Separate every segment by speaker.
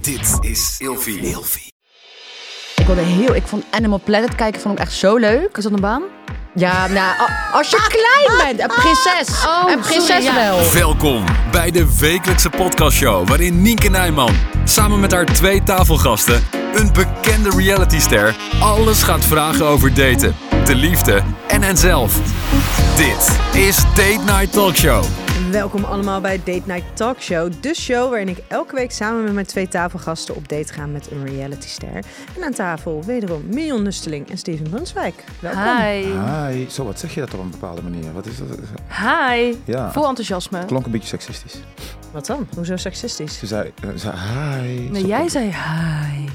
Speaker 1: Dit is Ilfie. Ilfie.
Speaker 2: Ik wilde heel... Ik vond Animal Planet kijken vond ik echt zo leuk.
Speaker 3: Is dat een baan? Ah,
Speaker 2: Ja, nou, a- als je klein bent. Een prinses.
Speaker 3: Oh,
Speaker 2: een prinses
Speaker 3: sorry, ja.
Speaker 2: wel.
Speaker 1: Welkom bij de wekelijkse podcastshow waarin Nienke Nijman samen met haar twee tafelgasten, een bekende realityster, alles gaat vragen over daten, de liefde en henzelf. Dit is Date Night Talkshow.
Speaker 4: Welkom allemaal bij Date Night Talk Show. De show waarin ik elke week samen met mijn twee tafelgasten op date ga met een realityster. En aan tafel wederom Mion Nusteling en Steven Brunswijk. Welkom.
Speaker 3: Hi.
Speaker 5: Hi. Zo, wat zeg je dat op een bepaalde manier? Wat is dat?
Speaker 3: Hi.
Speaker 5: Ja.
Speaker 3: Vol enthousiasme.
Speaker 5: Klonk een beetje seksistisch.
Speaker 4: Wat dan? Hoezo seksistisch?
Speaker 5: Ze zei, eh, zei hi.
Speaker 3: Nee,
Speaker 5: Zo-
Speaker 3: jij zei hi.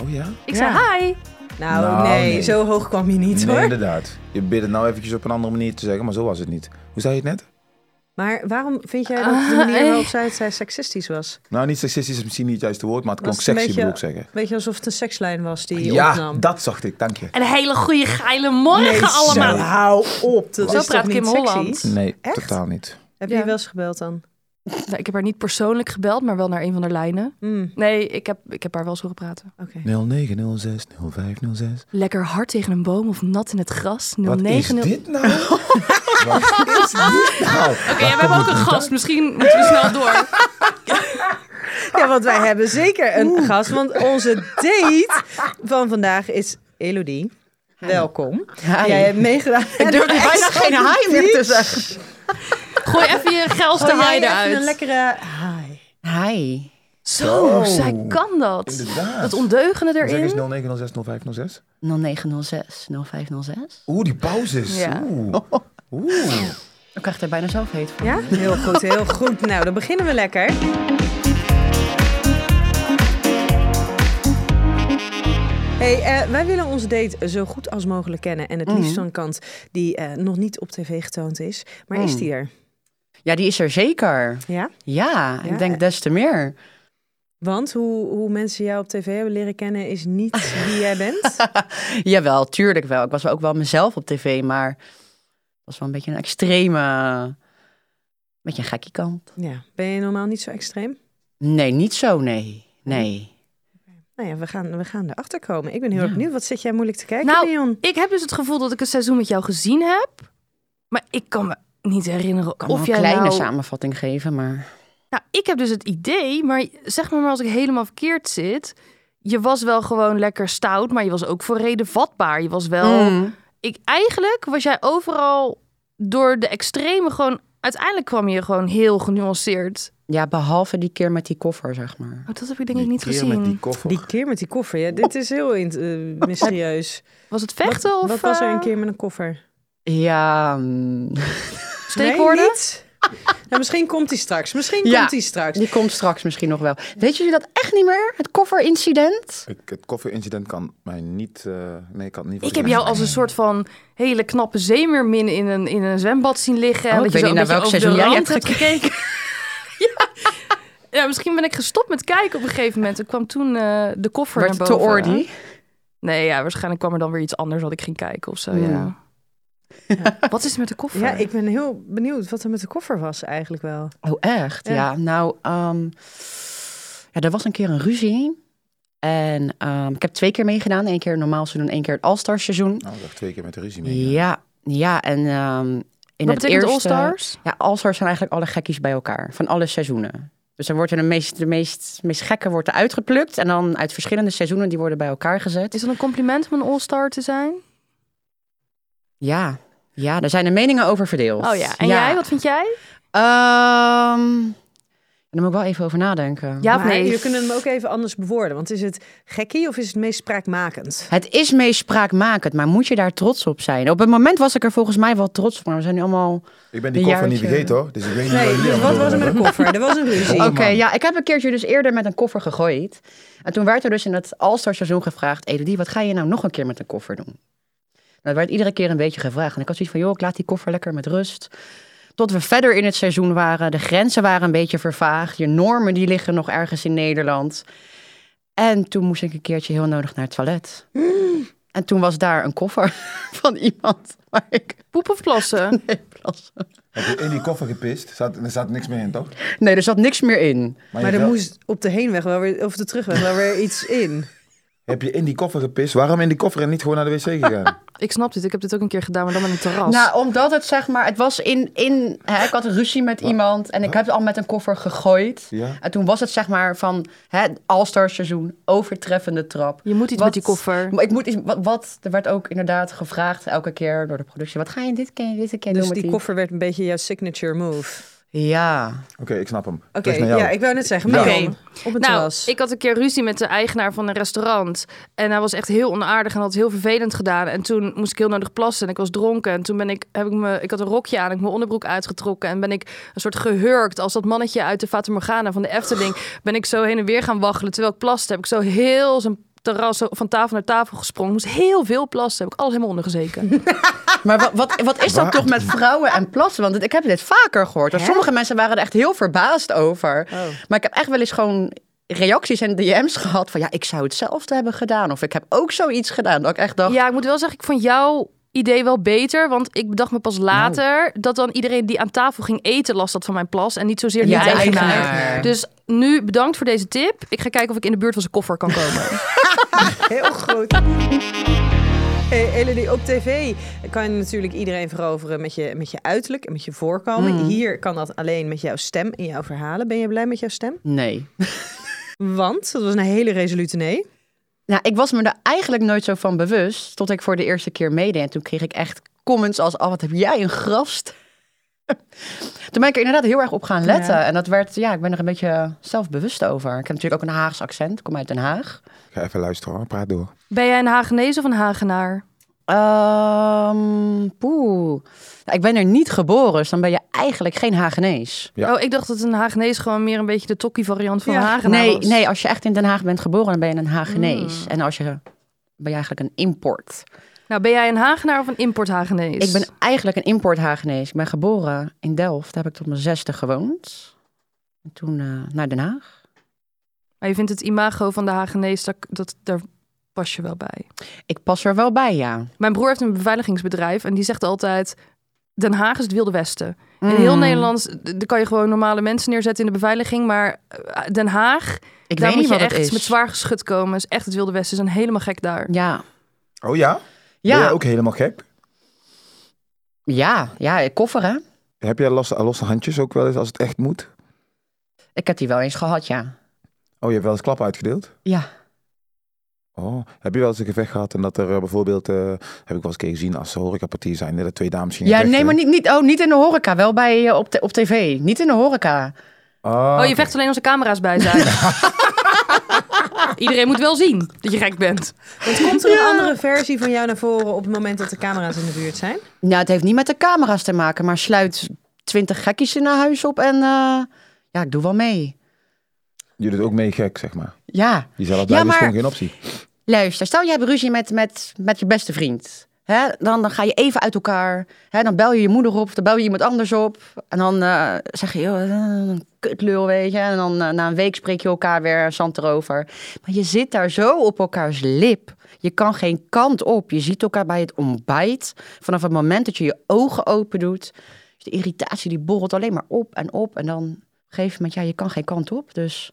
Speaker 5: Oh ja?
Speaker 3: Ik
Speaker 4: Ja.
Speaker 3: zei hi.
Speaker 4: Nou,
Speaker 5: Nou,
Speaker 4: nee,
Speaker 5: nee.
Speaker 4: zo hoog kwam je niet
Speaker 5: nee,
Speaker 4: hoor.
Speaker 5: inderdaad. Je probeert het nou eventjes op een andere manier te zeggen, maar zo was het niet. Hoe zei je het net?
Speaker 4: Maar waarom vind jij
Speaker 3: Ah,
Speaker 4: dat de manier waarop zij het zei seksistisch was?
Speaker 5: Nou, niet seksistisch is misschien niet het juiste woord, maar het
Speaker 4: Was het
Speaker 5: klonk sexy,
Speaker 4: een
Speaker 5: bedoel ik zeggen.
Speaker 4: Weet je, alsof het een sekslijn was die je
Speaker 5: Ja,
Speaker 4: opnam.
Speaker 5: dat zag ik. Dank je.
Speaker 3: Een hele goede geile morgen allemaal.
Speaker 5: Nee.
Speaker 4: hou op, dat
Speaker 3: Zo
Speaker 4: is
Speaker 3: praat
Speaker 4: toch
Speaker 3: Kim
Speaker 4: niet sexy?
Speaker 3: Holland.
Speaker 5: Nee,
Speaker 4: Echt?
Speaker 5: totaal niet.
Speaker 4: Heb
Speaker 3: Ja.
Speaker 4: je wel eens gebeld dan?
Speaker 3: Nou, ik heb haar niet persoonlijk gebeld, maar wel naar een van de lijnen.
Speaker 4: Hmm,
Speaker 3: Nee, ik heb, ik heb haar wel eens horen praten.
Speaker 4: Oké.
Speaker 5: 0906 0506.
Speaker 3: Lekker hard tegen een boom of nat in het gras. 090...
Speaker 5: Wat is dit nou? Wat is dit nou?
Speaker 3: Oké, ja, we hebben ook een gast. Misschien moeten we snel door.
Speaker 4: Ja, want wij hebben zeker een gast. Want onze date van vandaag is Elodie. Welkom. Jij hebt meegedaan.
Speaker 2: Ik durf bijna geen hi meer te zeggen.
Speaker 3: Gooi even je geilste
Speaker 4: Hou jij
Speaker 3: hi
Speaker 4: even
Speaker 3: eruit.
Speaker 4: Een lekkere hi.
Speaker 2: Hi.
Speaker 3: Zo, Oh, zij kan dat.
Speaker 5: Inderdaad.
Speaker 3: Dat ondeugende
Speaker 5: Zeg eens
Speaker 3: erin.
Speaker 5: 0906 0506.
Speaker 6: 0906, 0506.
Speaker 5: Oeh, die pauzes.
Speaker 3: Ja.
Speaker 5: Oeh. Oeh.
Speaker 6: Ik krijg er bijna zelf heet van.
Speaker 4: Ja? Heel goed, heel goed. Nou, dan beginnen we lekker. Hey, eh, wij willen onze date zo goed als mogelijk kennen. En het
Speaker 2: Mm.
Speaker 4: liefst van kant die eh, nog niet op tv getoond is. Maar
Speaker 2: Mm.
Speaker 4: is die er?
Speaker 6: Ja, die is er zeker.
Speaker 4: Ja?
Speaker 6: Ja,
Speaker 4: Ja,
Speaker 6: ik
Speaker 4: eh.
Speaker 6: denk des te meer.
Speaker 4: Want hoe, hoe mensen jou op tv hebben leren kennen is niet wie jij bent.
Speaker 6: Jawel, tuurlijk wel. Ik was ook wel mezelf op tv, maar het was wel een beetje een extreme, beetje een gekkie kant.
Speaker 4: Ja, ben je normaal niet zo extreem?
Speaker 6: Nee, niet zo, nee. Nee.
Speaker 4: Nou ja, we gaan, we gaan erachter komen. Ik ben heel erg benieuwd. Wat zit jij moeilijk te kijken,
Speaker 3: Nou,
Speaker 4: Leon?
Speaker 3: Ik heb dus het gevoel dat ik het seizoen met jou gezien heb. Maar ik kan me niet herinneren
Speaker 6: Ik kan wel
Speaker 3: of
Speaker 6: een
Speaker 3: jij
Speaker 6: kleine
Speaker 3: nou...
Speaker 6: samenvatting geven, maar...
Speaker 3: Nou, ik heb dus het idee, maar zeg maar, maar als ik helemaal verkeerd zit... Je was wel gewoon lekker stout, maar je was ook voor reden vatbaar. Je was wel...
Speaker 6: Mm.
Speaker 3: Ik, eigenlijk was jij overal door de extreme gewoon... Uiteindelijk kwam je gewoon heel genuanceerd.
Speaker 6: Ja, behalve die keer met die koffer, zeg maar.
Speaker 3: Oh, dat heb ik denk ik
Speaker 5: Die
Speaker 3: niet
Speaker 5: keer
Speaker 3: gezien.
Speaker 5: met die koffer.
Speaker 4: Die keer met die koffer, ja, dit is heel in- eh, mysterieus.
Speaker 3: Was het vechten
Speaker 4: wat,
Speaker 3: of
Speaker 4: wat was er een
Speaker 3: eh,
Speaker 4: keer met een koffer?
Speaker 6: Ja, mm,
Speaker 3: steekwoorden?
Speaker 4: Nee, niet? nou, misschien komt die straks. Misschien
Speaker 6: Ja.
Speaker 4: komt die straks.
Speaker 6: die komt straks misschien nog wel. Weet jullie dat echt niet meer? Het kofferincident?
Speaker 5: Ik, het kofferincident kan mij niet... eh, nee, ik kan het niet...
Speaker 3: Ik heb jou als een soort van hele knappe zeemermin in een, in een zwembad zien liggen.
Speaker 6: Oh,
Speaker 3: en dat
Speaker 6: ik
Speaker 3: je
Speaker 6: weet
Speaker 3: zo
Speaker 6: niet
Speaker 3: een
Speaker 6: naar
Speaker 3: beetje
Speaker 6: welk
Speaker 3: over de
Speaker 6: seizoen jij
Speaker 3: rand
Speaker 6: hebt
Speaker 3: hebt gekeken. ja. ja, misschien ben ik gestopt met kijken op een gegeven moment. Er kwam toen eh, de koffer
Speaker 6: Werd het
Speaker 3: naar
Speaker 6: te
Speaker 3: boven.
Speaker 6: ordy?
Speaker 3: Nee, ja, waarschijnlijk kwam er dan weer iets anders wat ik ging kijken of zo.
Speaker 6: Ja.
Speaker 3: Ja. Wat is er met de koffer?
Speaker 4: Ja, ik ben heel benieuwd wat er met de koffer was eigenlijk wel.
Speaker 6: Oh, echt?
Speaker 4: Ja.
Speaker 6: Ja, nou, ehm, ja, er was een keer een ruzie. En ehm, ik heb twee keer meegedaan. Eén keer het normaal seizoen, één keer het All-Star
Speaker 3: Oh
Speaker 6: seizoen.
Speaker 5: Nou, ik dacht twee keer met de ruzie mee.
Speaker 6: Ja, ja, en ehm, in
Speaker 3: Wat
Speaker 6: het
Speaker 3: betekent
Speaker 6: eerste...
Speaker 3: All-Stars?
Speaker 6: Ja, All-Stars zijn eigenlijk alle gekkies bij elkaar. Van alle seizoenen. Dus dan wordt er de meest, de meest, meest gekke wordt er uitgeplukt. En dan uit verschillende seizoenen, die worden bij elkaar gezet.
Speaker 3: Is dat een compliment om een all-star te zijn?
Speaker 6: Ja, ja, daar zijn de meningen over verdeeld.
Speaker 3: Oh ja. En jij, wat vind jij?
Speaker 6: Ehm, daar moet ik wel even over nadenken.
Speaker 3: Ja of
Speaker 4: maar
Speaker 3: nee?
Speaker 4: jullie kunnen hem ook even anders bewoorden. Want is het gekkie of is het meest spraakmakend?
Speaker 6: Het is meest spraakmakend, maar moet je daar trots op zijn? Op het moment was ik er volgens mij wel trots op, maar we zijn nu allemaal...
Speaker 5: Ik ben die
Speaker 6: Een
Speaker 5: koffer niet
Speaker 6: jaartje.
Speaker 5: vergeten hoor. Dus ik weet niet
Speaker 4: Nee,
Speaker 5: waar jullie
Speaker 4: dus
Speaker 5: aan
Speaker 4: wat
Speaker 5: het
Speaker 4: was er met
Speaker 5: doen
Speaker 4: een koffer? Er was een ruzie.
Speaker 6: Oké, ja, ik heb een keertje dus eerder met een koffer gegooid. En toen werd er dus in het All-Star seizoen gevraagd... Elodie, wat ga je nou nog een keer met een koffer doen? Dat werd iedere keer een beetje gevraagd. En ik had zoiets van, joh, ik laat die koffer lekker met rust. Tot we verder in het seizoen waren. De grenzen waren een beetje vervaagd. Je normen die liggen nog ergens in Nederland. En toen moest ik een keertje heel nodig naar het toilet. En toen was daar een koffer van iemand waar ik
Speaker 3: Poep of plassen?
Speaker 6: mee plassen.
Speaker 5: Heb je in die koffer gepist? Zat, er zat niks meer in, toch?
Speaker 6: Nee, er zat niks meer in.
Speaker 5: je
Speaker 4: Maar er
Speaker 5: wel-
Speaker 4: moest op de heenweg wel weer, of de terugweg wel weer iets in.
Speaker 5: Heb je in die koffer gepist? Waarom in die koffer en niet gewoon naar de wc gegaan?
Speaker 3: Ik snap dit. Ik heb dit ook een keer gedaan, maar dan met een terras.
Speaker 6: Nou, omdat het zeg maar, het was in, in hè, ik had een ruzie met iemand en ik heb het al met een koffer gegooid.
Speaker 5: Ja.
Speaker 6: En toen was het zeg maar van hè, All-Star seizoen, overtreffende trap.
Speaker 3: je moet iets met die koffer.
Speaker 6: Maar ik moet iets, wat, wat, er werd ook inderdaad gevraagd elke keer door de productie, wat ga je dit keer, dit keer doen
Speaker 4: Dus
Speaker 6: met
Speaker 4: die koffer werd een beetje jouw signature move.
Speaker 6: Ja.
Speaker 5: Oké, ik snap hem.
Speaker 4: Oké,
Speaker 5: Terug naar jou.
Speaker 4: ja, ik wou net zeggen.
Speaker 5: Ja.
Speaker 4: Oké,
Speaker 3: Oké.
Speaker 4: op het
Speaker 3: Nou,
Speaker 4: terras.
Speaker 3: ik had een keer ruzie met de eigenaar van een restaurant. En hij was echt heel onaardig en had het heel vervelend gedaan. En toen moest ik heel nodig plassen en ik was dronken. En toen ben ik, heb ik, me, ik had een rokje aan, ik mijn onderbroek uitgetrokken. En ben ik een soort gehurkt als dat mannetje uit de Fata Morgana van de Efteling. Ben ik zo heen en weer gaan waggelen terwijl ik plaste. Heb ik zo heel zijn terras zo van tafel naar tafel gesprongen. Moest heel veel plassen. Heb ik alles helemaal ondergezeken.
Speaker 6: Maar wat, wat, wat is dat
Speaker 5: Waar-
Speaker 6: toch met vrouwen en plassen? Want ik heb dit vaker gehoord. Want sommige mensen waren er echt heel verbaasd over. Maar ik heb echt wel eens gewoon reacties en DM's gehad van... ja, ik zou hetzelfde hebben gedaan. Of ik heb ook zoiets gedaan. Dat ik echt dacht,
Speaker 3: Ja, ik moet wel zeggen, ik vond jouw idee wel beter. Want ik bedacht me pas
Speaker 6: Nou.
Speaker 3: later dat dan iedereen die aan tafel ging eten last had van mijn plas. En niet zozeer
Speaker 6: Je
Speaker 3: niet de
Speaker 6: eigenaar.
Speaker 3: eigenaar. Dus nu bedankt voor deze tip. Ik ga kijken of ik in de buurt van zijn koffer kan komen.
Speaker 4: Heel goed. Hey, Elodie, op tv kan je natuurlijk iedereen veroveren met je, met je uiterlijk en met je voorkomen. Hier kan dat alleen met jouw stem en jouw verhalen. Ben je blij met jouw stem?
Speaker 6: nee.
Speaker 4: Want, dat was een hele resolute nee.
Speaker 6: Nou, ik was me er eigenlijk nooit zo van bewust... tot ik voor de eerste keer meedeed. En toen kreeg ik echt comments als... oh, wat heb jij een grast. toen ben ik er inderdaad heel erg op gaan letten. En dat werd, ja, ik ben er een beetje zelfbewust over. Ik heb natuurlijk ook een Haags accent. Ik kom uit Den Haag.
Speaker 5: Ga even luisteren hoor, praat door.
Speaker 3: Ben jij een Hagenees of een Hagenaar?
Speaker 6: Ehm poeh. Nou, ik ben er niet geboren, dus dan ben je eigenlijk geen Hagenees.
Speaker 5: Ja.
Speaker 3: Oh, ik dacht dat een Hagenees gewoon meer een beetje de tokkie variant van
Speaker 4: Ja.
Speaker 3: een Hagenaar
Speaker 6: Nee,
Speaker 3: was. Hmm.
Speaker 6: nee, als je echt in Den Haag bent geboren, dan ben je een Hagenees. En als je ben je eigenlijk een import.
Speaker 3: Nou, ben jij een Hagenaar of een import Hagenees?
Speaker 6: Ik ben eigenlijk een import Hagenees. Ik ben geboren in Delft, daar heb ik tot mijn zesde gewoond. En toen eh, naar Den Haag.
Speaker 3: Maar je vindt het imago van de Hagenees, dat, dat, daar pas je wel bij.
Speaker 6: Ik pas er wel bij, ja.
Speaker 3: Mijn broer heeft een beveiligingsbedrijf en die zegt altijd... Den Haag is het Wilde Westen. In heel
Speaker 6: Mm.
Speaker 3: Nederland d- daar kan je gewoon normale mensen neerzetten in de beveiliging. Maar eh, Den Haag,
Speaker 6: Ik
Speaker 3: daar
Speaker 6: weet
Speaker 3: moet
Speaker 6: niet
Speaker 3: je
Speaker 6: wat het
Speaker 3: echt
Speaker 6: is.
Speaker 3: met zwaar geschut komen. is echt het Wilde Westen. Ze zijn helemaal gek daar.
Speaker 6: Ja.
Speaker 5: Oh ja? Ben jij
Speaker 6: Ja,
Speaker 5: ook helemaal gek?
Speaker 6: ja, ja, koffer hè.
Speaker 5: Heb jij losse, losse handjes ook wel eens als het echt moet?
Speaker 6: Ik heb die wel eens gehad, ja.
Speaker 5: Oh, je hebt wel eens klap uitgedeeld?
Speaker 6: Ja.
Speaker 5: Oh, heb je wel eens een gevecht gehad en dat er eh, bijvoorbeeld, eh, heb ik wel eens een keer gezien als ze horecapartier zijn, dat er twee dames gingen
Speaker 6: Ja,
Speaker 5: vechten?
Speaker 6: nee, maar niet, niet, oh, niet in de horeca. Wel bij, eh, op, t- op tv. Niet in de horeca.
Speaker 5: Oh,
Speaker 3: Oh, je
Speaker 5: oké.
Speaker 3: vecht alleen als er camera's bij zijn. Iedereen moet wel zien dat je gek bent.
Speaker 4: Want komt er een andere versie van jou naar voren op het moment dat de camera's in de buurt zijn?
Speaker 6: Nou, het heeft niet met de camera's te maken, maar sluit twintig gekkies in haar huis op en eh, ja, ik doe wel mee.
Speaker 5: Je doet ook mee gek, zeg maar.
Speaker 6: Ja.
Speaker 5: Die zelf
Speaker 6: ja,
Speaker 5: is
Speaker 6: maar
Speaker 5: gewoon geen optie.
Speaker 6: luister, stel je hebt ruzie met, met, met je beste vriend. Hè? Dan, dan ga je even uit elkaar. Hè? Dan bel je je moeder op, dan bel je iemand anders op. En dan eh, zeg je, joh, eh, een kutlul, weet je. En dan eh, na een week spreek je elkaar weer zand erover. Maar je zit daar zo op elkaars lip. Je kan geen kant op. Je ziet elkaar bij het ontbijt. Vanaf het moment dat je je ogen open doet. Dus de irritatie die borrelt alleen maar op en op. En dan op een gegeven moment, ja, je kan geen kant op. Dus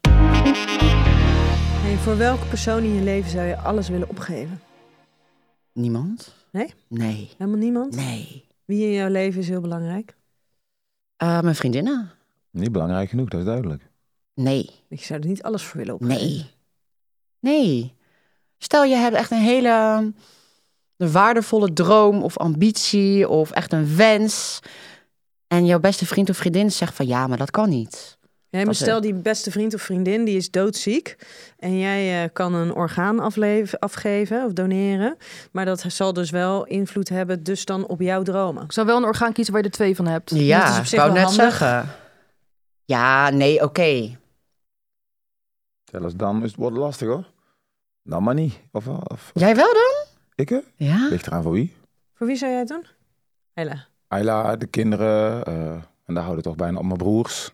Speaker 4: Hey, voor welke persoon in je leven zou je alles willen opgeven?
Speaker 6: niemand.
Speaker 4: Nee?
Speaker 6: Nee.
Speaker 4: Helemaal niemand?
Speaker 6: Nee.
Speaker 4: Wie in jouw leven is heel belangrijk?
Speaker 6: Eh, mijn vriendinnen?
Speaker 5: Niet belangrijk genoeg, dat is duidelijk.
Speaker 6: Nee.
Speaker 4: Ik zou er niet alles voor willen opgeven.
Speaker 6: Nee. Nee. Stel je hebt echt een hele ehm, een waardevolle droom of ambitie of echt een wens. En jouw beste vriend of vriendin zegt van ja, maar dat kan niet.
Speaker 4: Ja, maar
Speaker 6: Dat
Speaker 4: stel die beste vriend of vriendin die is doodziek en jij eh, kan een orgaan afleven, afgeven of doneren, maar dat zal dus wel invloed hebben dus dan op jouw dromen.
Speaker 3: Ik zou wel een orgaan kiezen waar je er twee van hebt.
Speaker 4: dat is
Speaker 6: Ja,
Speaker 4: op
Speaker 6: ik
Speaker 4: zich
Speaker 6: wou
Speaker 4: wel
Speaker 6: net
Speaker 4: handig.
Speaker 6: zeggen. Ja, nee, oké.
Speaker 5: Zelfs dan is het wordt lastig hoor. Dan maar niet. Of, wel? of
Speaker 6: Jij wel dan?
Speaker 5: ik hè?
Speaker 6: Ja.
Speaker 5: Ligt eraan voor wie?
Speaker 4: Voor wie zou jij het doen? Hela,
Speaker 5: Ayla, de kinderen. eh, en daar houden toch bijna op mijn broers.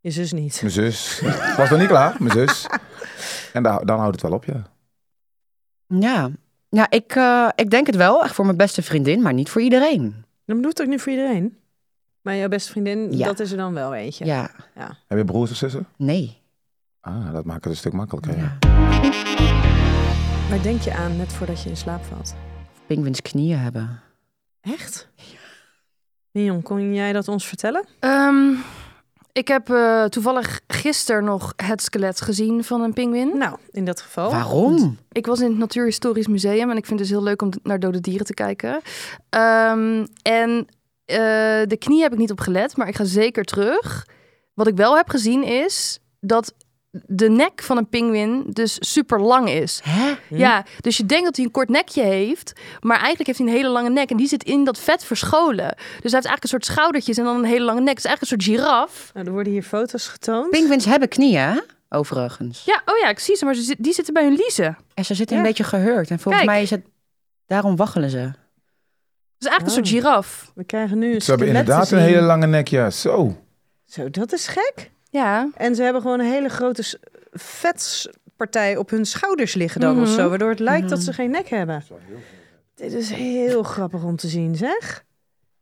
Speaker 4: je zus niet.
Speaker 5: Mijn zus. Ik was nog niet klaar, mijn zus. En daar, dan houdt het wel op, ja.
Speaker 6: Ja. Ja, ik, eh, ik denk het wel. Echt voor mijn beste vriendin, maar niet voor iedereen.
Speaker 4: Dan doet het ook niet voor iedereen. Maar jouw beste vriendin,
Speaker 6: Ja.
Speaker 4: dat is er dan wel eentje.
Speaker 6: Ja,
Speaker 5: Heb je broers of zussen?
Speaker 6: nee.
Speaker 5: Ah, dat maakt het een stuk makkelijker. Ja.
Speaker 6: Ja.
Speaker 4: Waar denk je aan net voordat je in slaap valt?
Speaker 6: Pinguïns knieën hebben.
Speaker 4: Echt? Mion, kon jij dat ons vertellen?
Speaker 3: Ehm, ik heb eh, toevallig gisteren nog het skelet gezien van een pinguïn.
Speaker 4: Nou, in dat geval.
Speaker 6: Hm? Waarom?
Speaker 3: Ik was in het Natuurhistorisch Museum en ik vind het dus heel leuk om d- naar dode dieren te kijken. Ehm, en eh, de knie heb ik niet op gelet, maar ik ga zeker terug. Wat ik wel heb gezien is dat de nek van een pinguïn dus super lang is.
Speaker 6: Hè?
Speaker 3: Ja, dus je denkt dat hij een kort nekje heeft, maar eigenlijk heeft hij een hele lange nek en die zit in dat vet verscholen. Dus hij heeft eigenlijk een soort schoudertjes en dan een hele lange nek. Het is eigenlijk een soort giraf.
Speaker 4: Nou, er worden hier foto's getoond.
Speaker 6: Pinguïns hebben knieën, hè? overigens.
Speaker 3: Ja, oh ja, ik zie ze, maar ze zi- die zitten bij hun liezen.
Speaker 6: En ze zitten
Speaker 4: Ja.
Speaker 6: een beetje gehurkt. En volgens
Speaker 3: Kijk.
Speaker 6: mij is het... Daarom waggelen ze.
Speaker 3: Het is eigenlijk een
Speaker 4: Oh.
Speaker 3: soort giraf.
Speaker 4: We krijgen nu een
Speaker 5: Ze hebben
Speaker 4: skelet te
Speaker 5: inderdaad een
Speaker 4: Dus zien.
Speaker 5: hele lange nek, ja. Zo.
Speaker 4: Zo, dat is gek.
Speaker 3: Ja.
Speaker 4: En ze hebben gewoon een hele grote s- vetspartij op hun schouders liggen dan
Speaker 3: Mhm.
Speaker 4: of zo. Waardoor het lijkt dat ze geen nek hebben. Dit is heel grappig om te zien, zeg.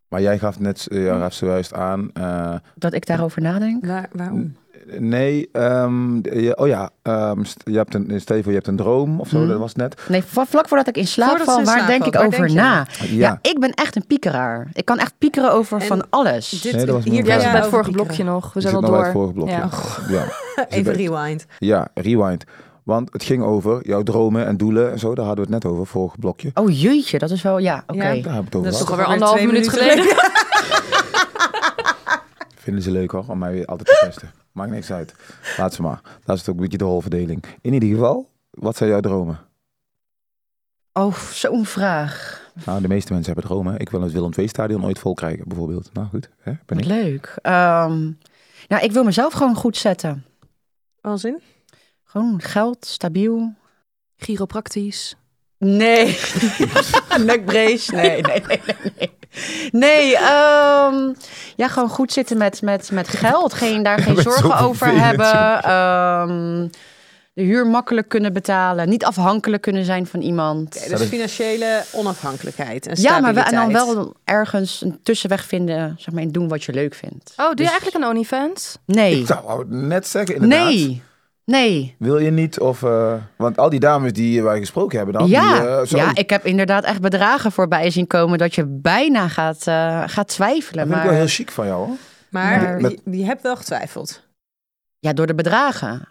Speaker 5: Maar jij gaf net eh, jij gaf zojuist aan. eh,
Speaker 6: Dat ik daarover nadenk.
Speaker 4: Waar, waarom?
Speaker 5: nee, ehm, je- oh ja, ehm, st- je hebt een, Steven, je hebt een droom of zo,
Speaker 6: Hmm.
Speaker 5: dat was het net.
Speaker 6: Nee, va- vlak voordat ik in slaap
Speaker 4: Voordat ze
Speaker 6: val,
Speaker 4: in
Speaker 6: waar
Speaker 4: slaap
Speaker 6: denk
Speaker 4: valt,
Speaker 6: ik
Speaker 4: waar
Speaker 6: over
Speaker 4: denk je
Speaker 6: na?
Speaker 5: Ja,
Speaker 6: Ja. ik ben echt een piekeraar. Ik kan echt piekeren over
Speaker 4: En
Speaker 6: van alles.
Speaker 4: Dit,
Speaker 5: Nee, dat was mijn
Speaker 3: Jij
Speaker 5: Ja,
Speaker 3: zat bij het
Speaker 4: over
Speaker 3: vorige
Speaker 4: piekeren.
Speaker 3: blokje nog. We
Speaker 5: je
Speaker 3: zijn
Speaker 5: zit
Speaker 3: al
Speaker 5: nog bij het
Speaker 3: door.
Speaker 5: vorige blok.
Speaker 3: Ja.
Speaker 5: Ja. Ja.
Speaker 4: Even rewind.
Speaker 5: Ja, rewind. Want het ging over jouw dromen en doelen en zo. Daar hadden we het net over, vorig blokje.
Speaker 6: Oh jeetje, dat is wel... Ja, oké.
Speaker 4: Ja.
Speaker 5: Daar heb ik het over
Speaker 4: Dat is
Speaker 3: Alweer
Speaker 4: toch- Alweer
Speaker 5: gehad.
Speaker 3: anderhalf
Speaker 4: twee
Speaker 3: minuut
Speaker 4: minuten
Speaker 3: geleden.
Speaker 5: Vinden ze leuk hoor, om mij weer altijd te testen. Maakt niks uit. Laat ze maar. Dat is ook een beetje de rolverdeling. In ieder geval, wat zijn jouw dromen?
Speaker 6: Oh, zo'n vraag.
Speaker 5: Nou, de meeste mensen hebben dromen. Ik wil het Willem II-stadion ooit vol krijgen, bijvoorbeeld. Nou goed, hè?
Speaker 6: Wat
Speaker 5: ben ik.
Speaker 6: leuk. Ehm, nou, ik wil mezelf gewoon goed zetten.
Speaker 4: Als in?
Speaker 6: Gewoon geld, stabiel.
Speaker 3: Chiropractisch.
Speaker 6: Nee. Nekbrace. Nee, nee, nee, nee. Nee, nee ehm, ja, gewoon goed zitten met, met, met geld. Geen, daar geen
Speaker 5: bent zo
Speaker 6: zorgen over
Speaker 5: vervelend,
Speaker 6: hebben. Ehm, de huur makkelijk kunnen betalen. Niet afhankelijk kunnen zijn van iemand.
Speaker 4: Oké, dus financiële onafhankelijkheid en
Speaker 6: Ja, maar wel- en dan
Speaker 4: stabiliteit.
Speaker 6: wel ergens een tussenweg vinden, zeg maar, in doen wat je leuk vindt.
Speaker 3: Oh, doe
Speaker 6: Dus-
Speaker 3: je eigenlijk een OnlyFans?
Speaker 6: Nee.
Speaker 5: Ik zou het net zeggen, inderdaad.
Speaker 6: Nee. Nee.
Speaker 5: Wil je niet? Of, eh, want al die dames die wij gesproken hebben dan.
Speaker 6: Ja.
Speaker 5: die, eh, zo,
Speaker 6: ja, ik heb inderdaad echt bedragen voorbij zien komen dat je bijna gaat, eh, gaat
Speaker 5: dat
Speaker 6: twijfelen.
Speaker 5: vind ik
Speaker 6: Maar,
Speaker 5: wel heel chic van jou hoor.
Speaker 4: Maar
Speaker 6: Maar-
Speaker 4: je, je hebt wel getwijfeld.
Speaker 6: ja, door de bedragen.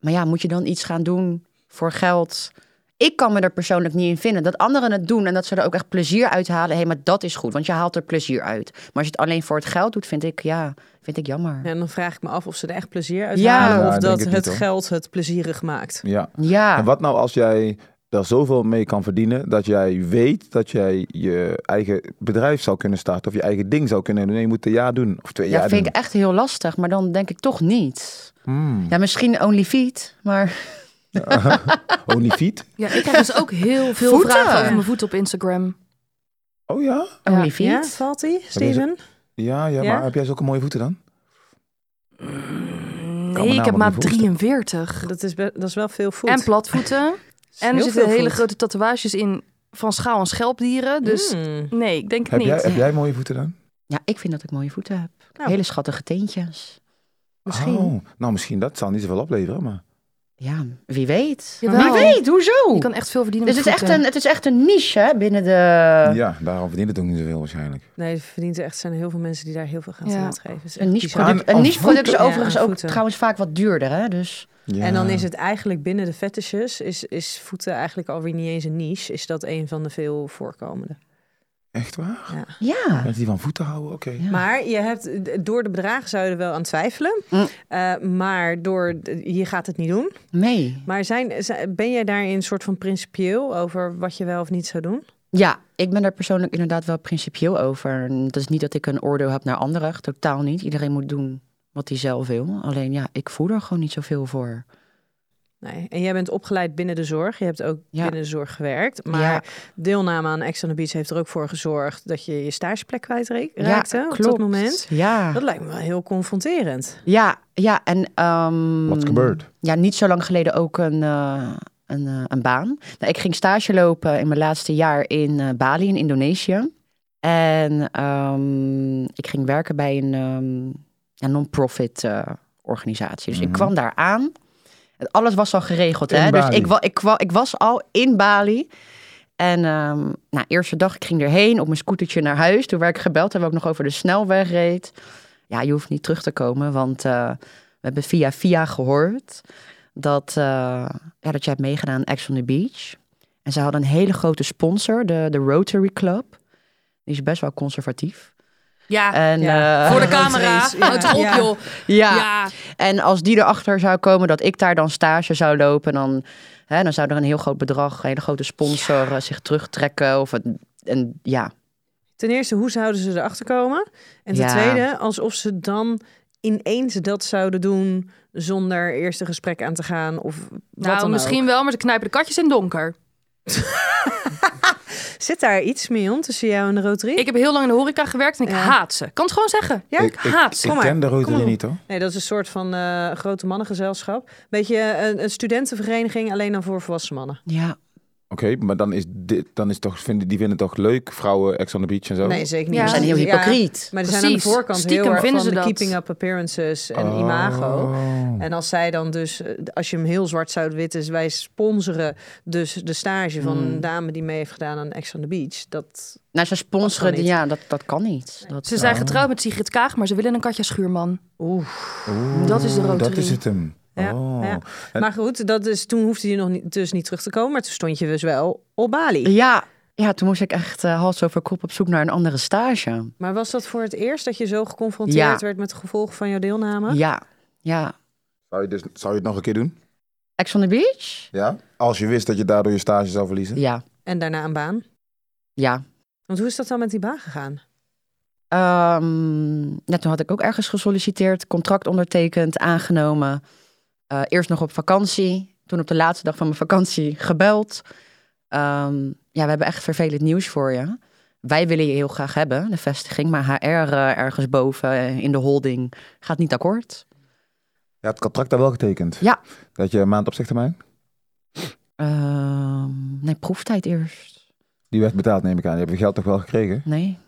Speaker 6: Maar ja, moet je dan iets gaan doen voor geld? Ik kan me er persoonlijk niet in vinden. Dat anderen het doen en dat ze er ook echt plezier uit halen. hey, maar dat is goed, want je haalt er plezier uit. Maar als je het alleen voor het geld doet, vind ik, ja, vind ik jammer.
Speaker 4: En dan vraag ik me af of ze er echt plezier uit
Speaker 6: Ja.
Speaker 4: halen
Speaker 5: Ja,
Speaker 4: of
Speaker 5: ik
Speaker 4: dat
Speaker 5: denk
Speaker 4: het,
Speaker 5: het niet, hoor.
Speaker 4: geld het plezierig maakt.
Speaker 5: Ja.
Speaker 6: Ja.
Speaker 5: En wat nou als jij daar zoveel mee kan verdienen dat jij weet dat jij je eigen bedrijf zou kunnen starten of je eigen ding zou kunnen doen. Nee, je moet een jaar doen of twee
Speaker 6: Ja,
Speaker 5: jaar
Speaker 6: vind
Speaker 5: doen.
Speaker 6: ik echt heel lastig, maar dan denk ik toch niet.
Speaker 5: Hmm.
Speaker 6: Ja, misschien OnlyFeet, maar
Speaker 5: Only feet?
Speaker 3: Ja, ik krijg dus ook heel veel
Speaker 6: Voeten.
Speaker 3: vragen over mijn voeten op Instagram.
Speaker 5: Oh ja?
Speaker 3: Ja.
Speaker 4: Ja,
Speaker 6: OnlyFeet?
Speaker 4: valt die, Steven?
Speaker 5: Ja, ja,
Speaker 4: Ja?
Speaker 5: maar heb jij zulke mooie voeten dan?
Speaker 3: Nee, ik heb
Speaker 5: namelijk
Speaker 3: maat
Speaker 5: niet voorstellen.
Speaker 3: 43.
Speaker 4: Dat is, be- dat is wel veel voet.
Speaker 3: En platvoeten. en er
Speaker 4: Heel
Speaker 3: zitten
Speaker 4: veel
Speaker 3: hele
Speaker 4: voet.
Speaker 3: grote tatoeages in van schaal- en schelpdieren. Dus
Speaker 4: Mm.
Speaker 3: nee, ik denk het
Speaker 5: Heb
Speaker 3: niet.
Speaker 5: jij, heb jij mooie voeten dan?
Speaker 6: Ja, ik vind dat ik mooie voeten heb.
Speaker 4: Nou.
Speaker 6: Hele schattige teentjes.
Speaker 4: Misschien.
Speaker 5: Oh, nou, misschien dat zal niet zoveel opleveren, maar.
Speaker 6: Ja, wie weet.
Speaker 3: Jawel.
Speaker 6: Wie weet, hoezo?
Speaker 3: Nou. Je kan echt veel verdienen
Speaker 6: Dus
Speaker 3: met
Speaker 6: het is, echt
Speaker 3: voeten.
Speaker 6: een, het is echt een niche hè, binnen de... Eh.
Speaker 5: Ja, daarom verdient het ook niet zoveel waarschijnlijk.
Speaker 4: Nee, ze verdient echt. Er zijn heel veel mensen die daar heel veel geld
Speaker 3: Ja.
Speaker 4: aan uitgeven. Het is echt
Speaker 6: Een niche
Speaker 4: bizar.
Speaker 5: Aan-
Speaker 6: product, een
Speaker 5: aan
Speaker 6: niche product is
Speaker 5: voeten.
Speaker 6: overigens
Speaker 4: Ja, aan
Speaker 6: ook
Speaker 4: voeten.
Speaker 6: trouwens vaak wat duurder. Hè? Dus
Speaker 5: Ja.
Speaker 4: En dan is het eigenlijk binnen de fetishes, is, is voeten eigenlijk alweer niet eens een niche. Is dat een van de veel voorkomende.
Speaker 5: Echt waar?
Speaker 6: ja.
Speaker 5: Mensen die van voeten houden, oké.
Speaker 6: Ja.
Speaker 4: Maar je hebt, door de bedragen zou je er wel aan twijfelen.
Speaker 3: Hm.
Speaker 6: Mm.
Speaker 4: Eh, maar door, de- je gaat het niet doen.
Speaker 6: Nee.
Speaker 4: Maar zijn, zijn- ben jij daarin een soort van principieel over wat je wel of niet zou doen?
Speaker 6: Ja, ik ben daar persoonlijk inderdaad wel principieel over. En Dat is niet dat ik een oordeel heb naar anderen. Totaal niet. Iedereen moet doen wat hij zelf wil. Alleen ja, ik voel er gewoon niet zoveel voor.
Speaker 4: Nee. En jij bent opgeleid binnen de zorg. Je hebt ook
Speaker 6: Ja.
Speaker 4: binnen de zorg gewerkt. Maar
Speaker 6: Ja.
Speaker 4: deelname aan Ex on the Beach heeft er ook voor gezorgd dat je je stageplek kwijtraakte
Speaker 6: Ja,
Speaker 4: raakte op dat moment.
Speaker 6: Ja,
Speaker 4: Dat lijkt me wel heel confronterend.
Speaker 6: ja, ja. En, ehm,
Speaker 4: Mm.
Speaker 5: Wat is gebeurd?
Speaker 6: Ja, niet zo lang geleden ook een, eh, een, eh, een baan. Nou, ik ging stage lopen in mijn laatste jaar in eh, Bali, in Indonesië. En ehm, ik ging werken bij een, ehm, een non-profit eh, organisatie. Dus ik kwam daar aan. En Alles was al geregeld.
Speaker 5: Mhm. In
Speaker 6: Hè? Dus
Speaker 5: Bali.
Speaker 6: ik, wa- ik, wa- ik was al in Bali. En ehm nou, eerste dag, ik ging erheen op mijn scootertje naar huis. Toen werd ik gebeld, hebben we ook nog over de snelweg reed. Ja, je hoeft niet terug te komen, want eh, we hebben via via gehoord dat, eh, ja, dat jij hebt meegedaan aan Ex on the Beach. En ze hadden een hele grote sponsor, de, de Rotary Club. Die is best wel conservatief.
Speaker 3: Ja,
Speaker 6: En,
Speaker 4: ja.
Speaker 6: eh,
Speaker 3: voor de
Speaker 4: Rood
Speaker 3: camera.
Speaker 4: race, ja.
Speaker 3: Houd op,
Speaker 4: Ja.
Speaker 3: joh.
Speaker 6: ja.
Speaker 3: Ja.
Speaker 6: En als die erachter zou komen dat ik daar dan stage zou lopen, dan, hè, dan zou er een heel groot bedrag, een hele grote sponsor eh, zich terugtrekken. Of het, en, ja.
Speaker 4: Ten eerste, hoe zouden ze erachter komen? En ten
Speaker 6: Ja.
Speaker 4: tweede, alsof ze dan ineens dat zouden doen zonder eerst een gesprek aan te gaan of wat
Speaker 3: Nou,
Speaker 4: dan
Speaker 3: misschien wel, maar ze knijpen de katjes in het donker.
Speaker 4: ook. Zit daar iets mee om tussen jou en de Rotary?
Speaker 3: Ik heb heel lang in de horeca gewerkt en ik
Speaker 4: Ja.
Speaker 3: haat ze. Kan het gewoon zeggen.
Speaker 4: Ja?
Speaker 3: Ik haat ze.
Speaker 5: Ik
Speaker 4: Kom maar,
Speaker 5: ken de
Speaker 4: kom
Speaker 5: Rotary
Speaker 4: maar.
Speaker 5: niet hoor.
Speaker 4: Nee, dat is een soort van eh, grote mannengezelschap. Beetje een, een studentenvereniging, alleen dan voor volwassen mannen.
Speaker 6: ja.
Speaker 5: Oké, maar dan is dit, dan is toch, vinden, die vinden het toch leuk, vrouwen, ex on the beach en zo?
Speaker 4: Nee, zeker niet.
Speaker 3: Ja.
Speaker 6: We Oh. zijn heel
Speaker 4: Ja.
Speaker 6: hypocriet.
Speaker 4: Maar ze zijn aan de
Speaker 3: Precies.
Speaker 4: voorkant
Speaker 3: Stiekem
Speaker 4: heel erg
Speaker 3: vinden
Speaker 4: van
Speaker 3: ze
Speaker 4: de
Speaker 3: dat.
Speaker 4: keeping up appearances en
Speaker 5: Oh.
Speaker 4: imago. En als zij dan dus, eh, als je hem heel zwart zou witten, wij sponsoren dus de stage van
Speaker 6: Hmm.
Speaker 4: een dame die mee heeft gedaan aan Ex on the Beach. Dat,
Speaker 6: Nou, ze sponsoren,
Speaker 4: Dat kan
Speaker 6: die- ja, dat, dat kan niet. Dat,
Speaker 3: Ze zijn getrouwd met Sigrid Kaag, maar ze willen een katja schuurman.
Speaker 4: oeh,
Speaker 3: Dat is de
Speaker 5: Oh,
Speaker 3: Rotary.
Speaker 5: Dat is het hem.
Speaker 4: ja,
Speaker 5: Oh.
Speaker 4: ja. Maar goed, dat is, toen hoefde je nog niet, dus niet terug te komen, maar toen stond je dus wel op Bali.
Speaker 6: ja, ja, toen moest ik echt eh, hals over kop op zoek naar een andere stage.
Speaker 4: Maar was dat voor het eerst dat je zo geconfronteerd
Speaker 6: Ja.
Speaker 4: werd met de gevolgen van jouw deelname?
Speaker 6: Ja, ja.
Speaker 5: Zou, je dus, zou je het nog een keer doen?
Speaker 6: Ex on the Beach?
Speaker 5: Ja? Als je wist dat je daardoor je stage zou verliezen?
Speaker 6: Ja,
Speaker 4: En daarna een baan?
Speaker 6: ja.
Speaker 4: Want hoe is dat dan met die baan gegaan?
Speaker 6: Ehm, ja, toen had ik ook ergens gesolliciteerd, contract ondertekend, aangenomen. Eh, eerst nog op vakantie, toen op de laatste dag van mijn vakantie gebeld. Ehm, ja, we hebben echt vervelend nieuws voor je. Wij willen je heel graag hebben, de vestiging, maar HR eh, ergens boven eh, in de holding gaat niet akkoord.
Speaker 5: Ja, het contract daar wel getekend.
Speaker 6: Ja.
Speaker 5: Dat je een maand opzichttermijn,
Speaker 6: Ehm, nee, proeftijd eerst.
Speaker 5: die werd betaald neem ik aan. Je hebt je geld toch wel gekregen?
Speaker 6: Nee.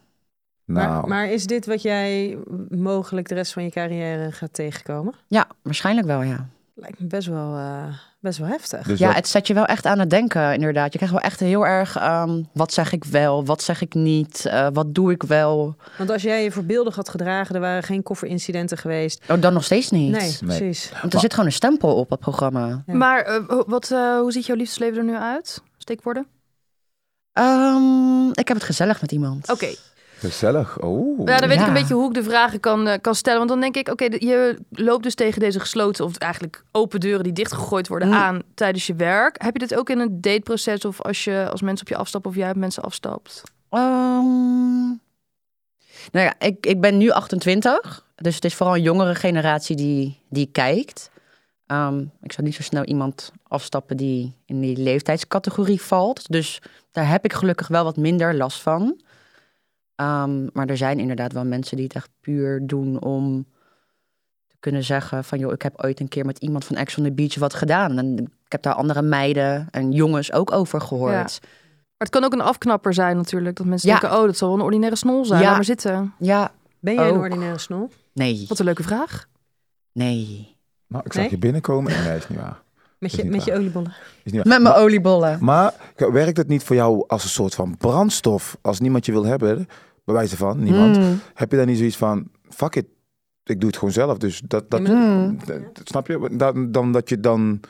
Speaker 5: Nou,
Speaker 4: Maar, maar is dit wat jij mogelijk de rest van je carrière gaat tegenkomen?
Speaker 6: Ja, waarschijnlijk wel, ja.
Speaker 4: Lijkt me best wel, eh, best wel heftig.
Speaker 5: dus
Speaker 6: ja,
Speaker 5: dat-
Speaker 6: het zet je wel echt aan het denken, inderdaad. Je krijgt wel echt heel erg, ehm, wat zeg ik wel, wat zeg ik niet, eh, wat doe ik wel.
Speaker 4: Want als jij je voorbeeldig had gedragen, er waren geen kofferincidenten geweest.
Speaker 6: Oh, dan nog steeds niet.
Speaker 4: Nee,
Speaker 5: Nee.
Speaker 4: precies.
Speaker 6: Want er zit gewoon een stempel op dat programma.
Speaker 4: Ja.
Speaker 3: Maar eh, ho- wat, eh, hoe ziet jouw liefdesleven er nu uit? Steekwoorden?
Speaker 6: Ehm, ik heb het gezellig met iemand.
Speaker 3: Oké.
Speaker 5: gezellig. Oh.
Speaker 3: Ja, dan weet ik
Speaker 6: Ja.
Speaker 3: een beetje hoe ik de vragen kan, eh, kan stellen. Want dan denk ik, oké, de- je loopt dus tegen deze gesloten... of eigenlijk open deuren die dichtgegooid worden
Speaker 6: Mm.
Speaker 3: aan tijdens je werk. Heb je dit ook in een dateproces of als, je, als mensen op je afstappen... of jij op mensen afstapt?
Speaker 6: Ehm, nou ja, ik, ik ben nu 28. Dus het is vooral een jongere generatie die, die kijkt. Ehm, ik zou niet zo snel iemand afstappen die in die leeftijdscategorie valt. Dus daar heb ik gelukkig wel wat minder last van. Ehm, maar er zijn inderdaad wel mensen die het echt puur doen om te kunnen zeggen van... joh, ik heb ooit een keer met iemand van Ex on the Beach wat gedaan. En ik heb daar andere meiden en jongens ook over gehoord.
Speaker 3: Maar het kan ook een afknapper zijn natuurlijk. Dat mensen
Speaker 6: Ja.
Speaker 3: denken, oh, dat zal wel een ordinaire snol zijn.
Speaker 6: Ja.
Speaker 3: Laat maar zitten.
Speaker 6: ja
Speaker 4: Ben jij een
Speaker 6: Ook.
Speaker 4: ordinaire snol?
Speaker 6: nee.
Speaker 3: Wat een leuke vraag.
Speaker 6: Nee.
Speaker 5: Nou, ik zag
Speaker 4: Nee?
Speaker 5: je binnenkomen en nee, is niet waar.
Speaker 4: Met
Speaker 5: is
Speaker 4: je,
Speaker 5: niet
Speaker 4: met je
Speaker 5: waar.
Speaker 4: oliebollen.
Speaker 5: Is niet waar.
Speaker 6: Met mijn oliebollen.
Speaker 5: Maar werkt het niet voor jou als een soort van brandstof? Als niemand je wil hebben, bij wijze van niemand,
Speaker 6: Mm.
Speaker 5: heb je dan niet zoiets van, fuck it, ik doe het gewoon zelf. Dus dat, dat,
Speaker 6: Mm.
Speaker 5: dat- snap je? Dan, dan dat je dan,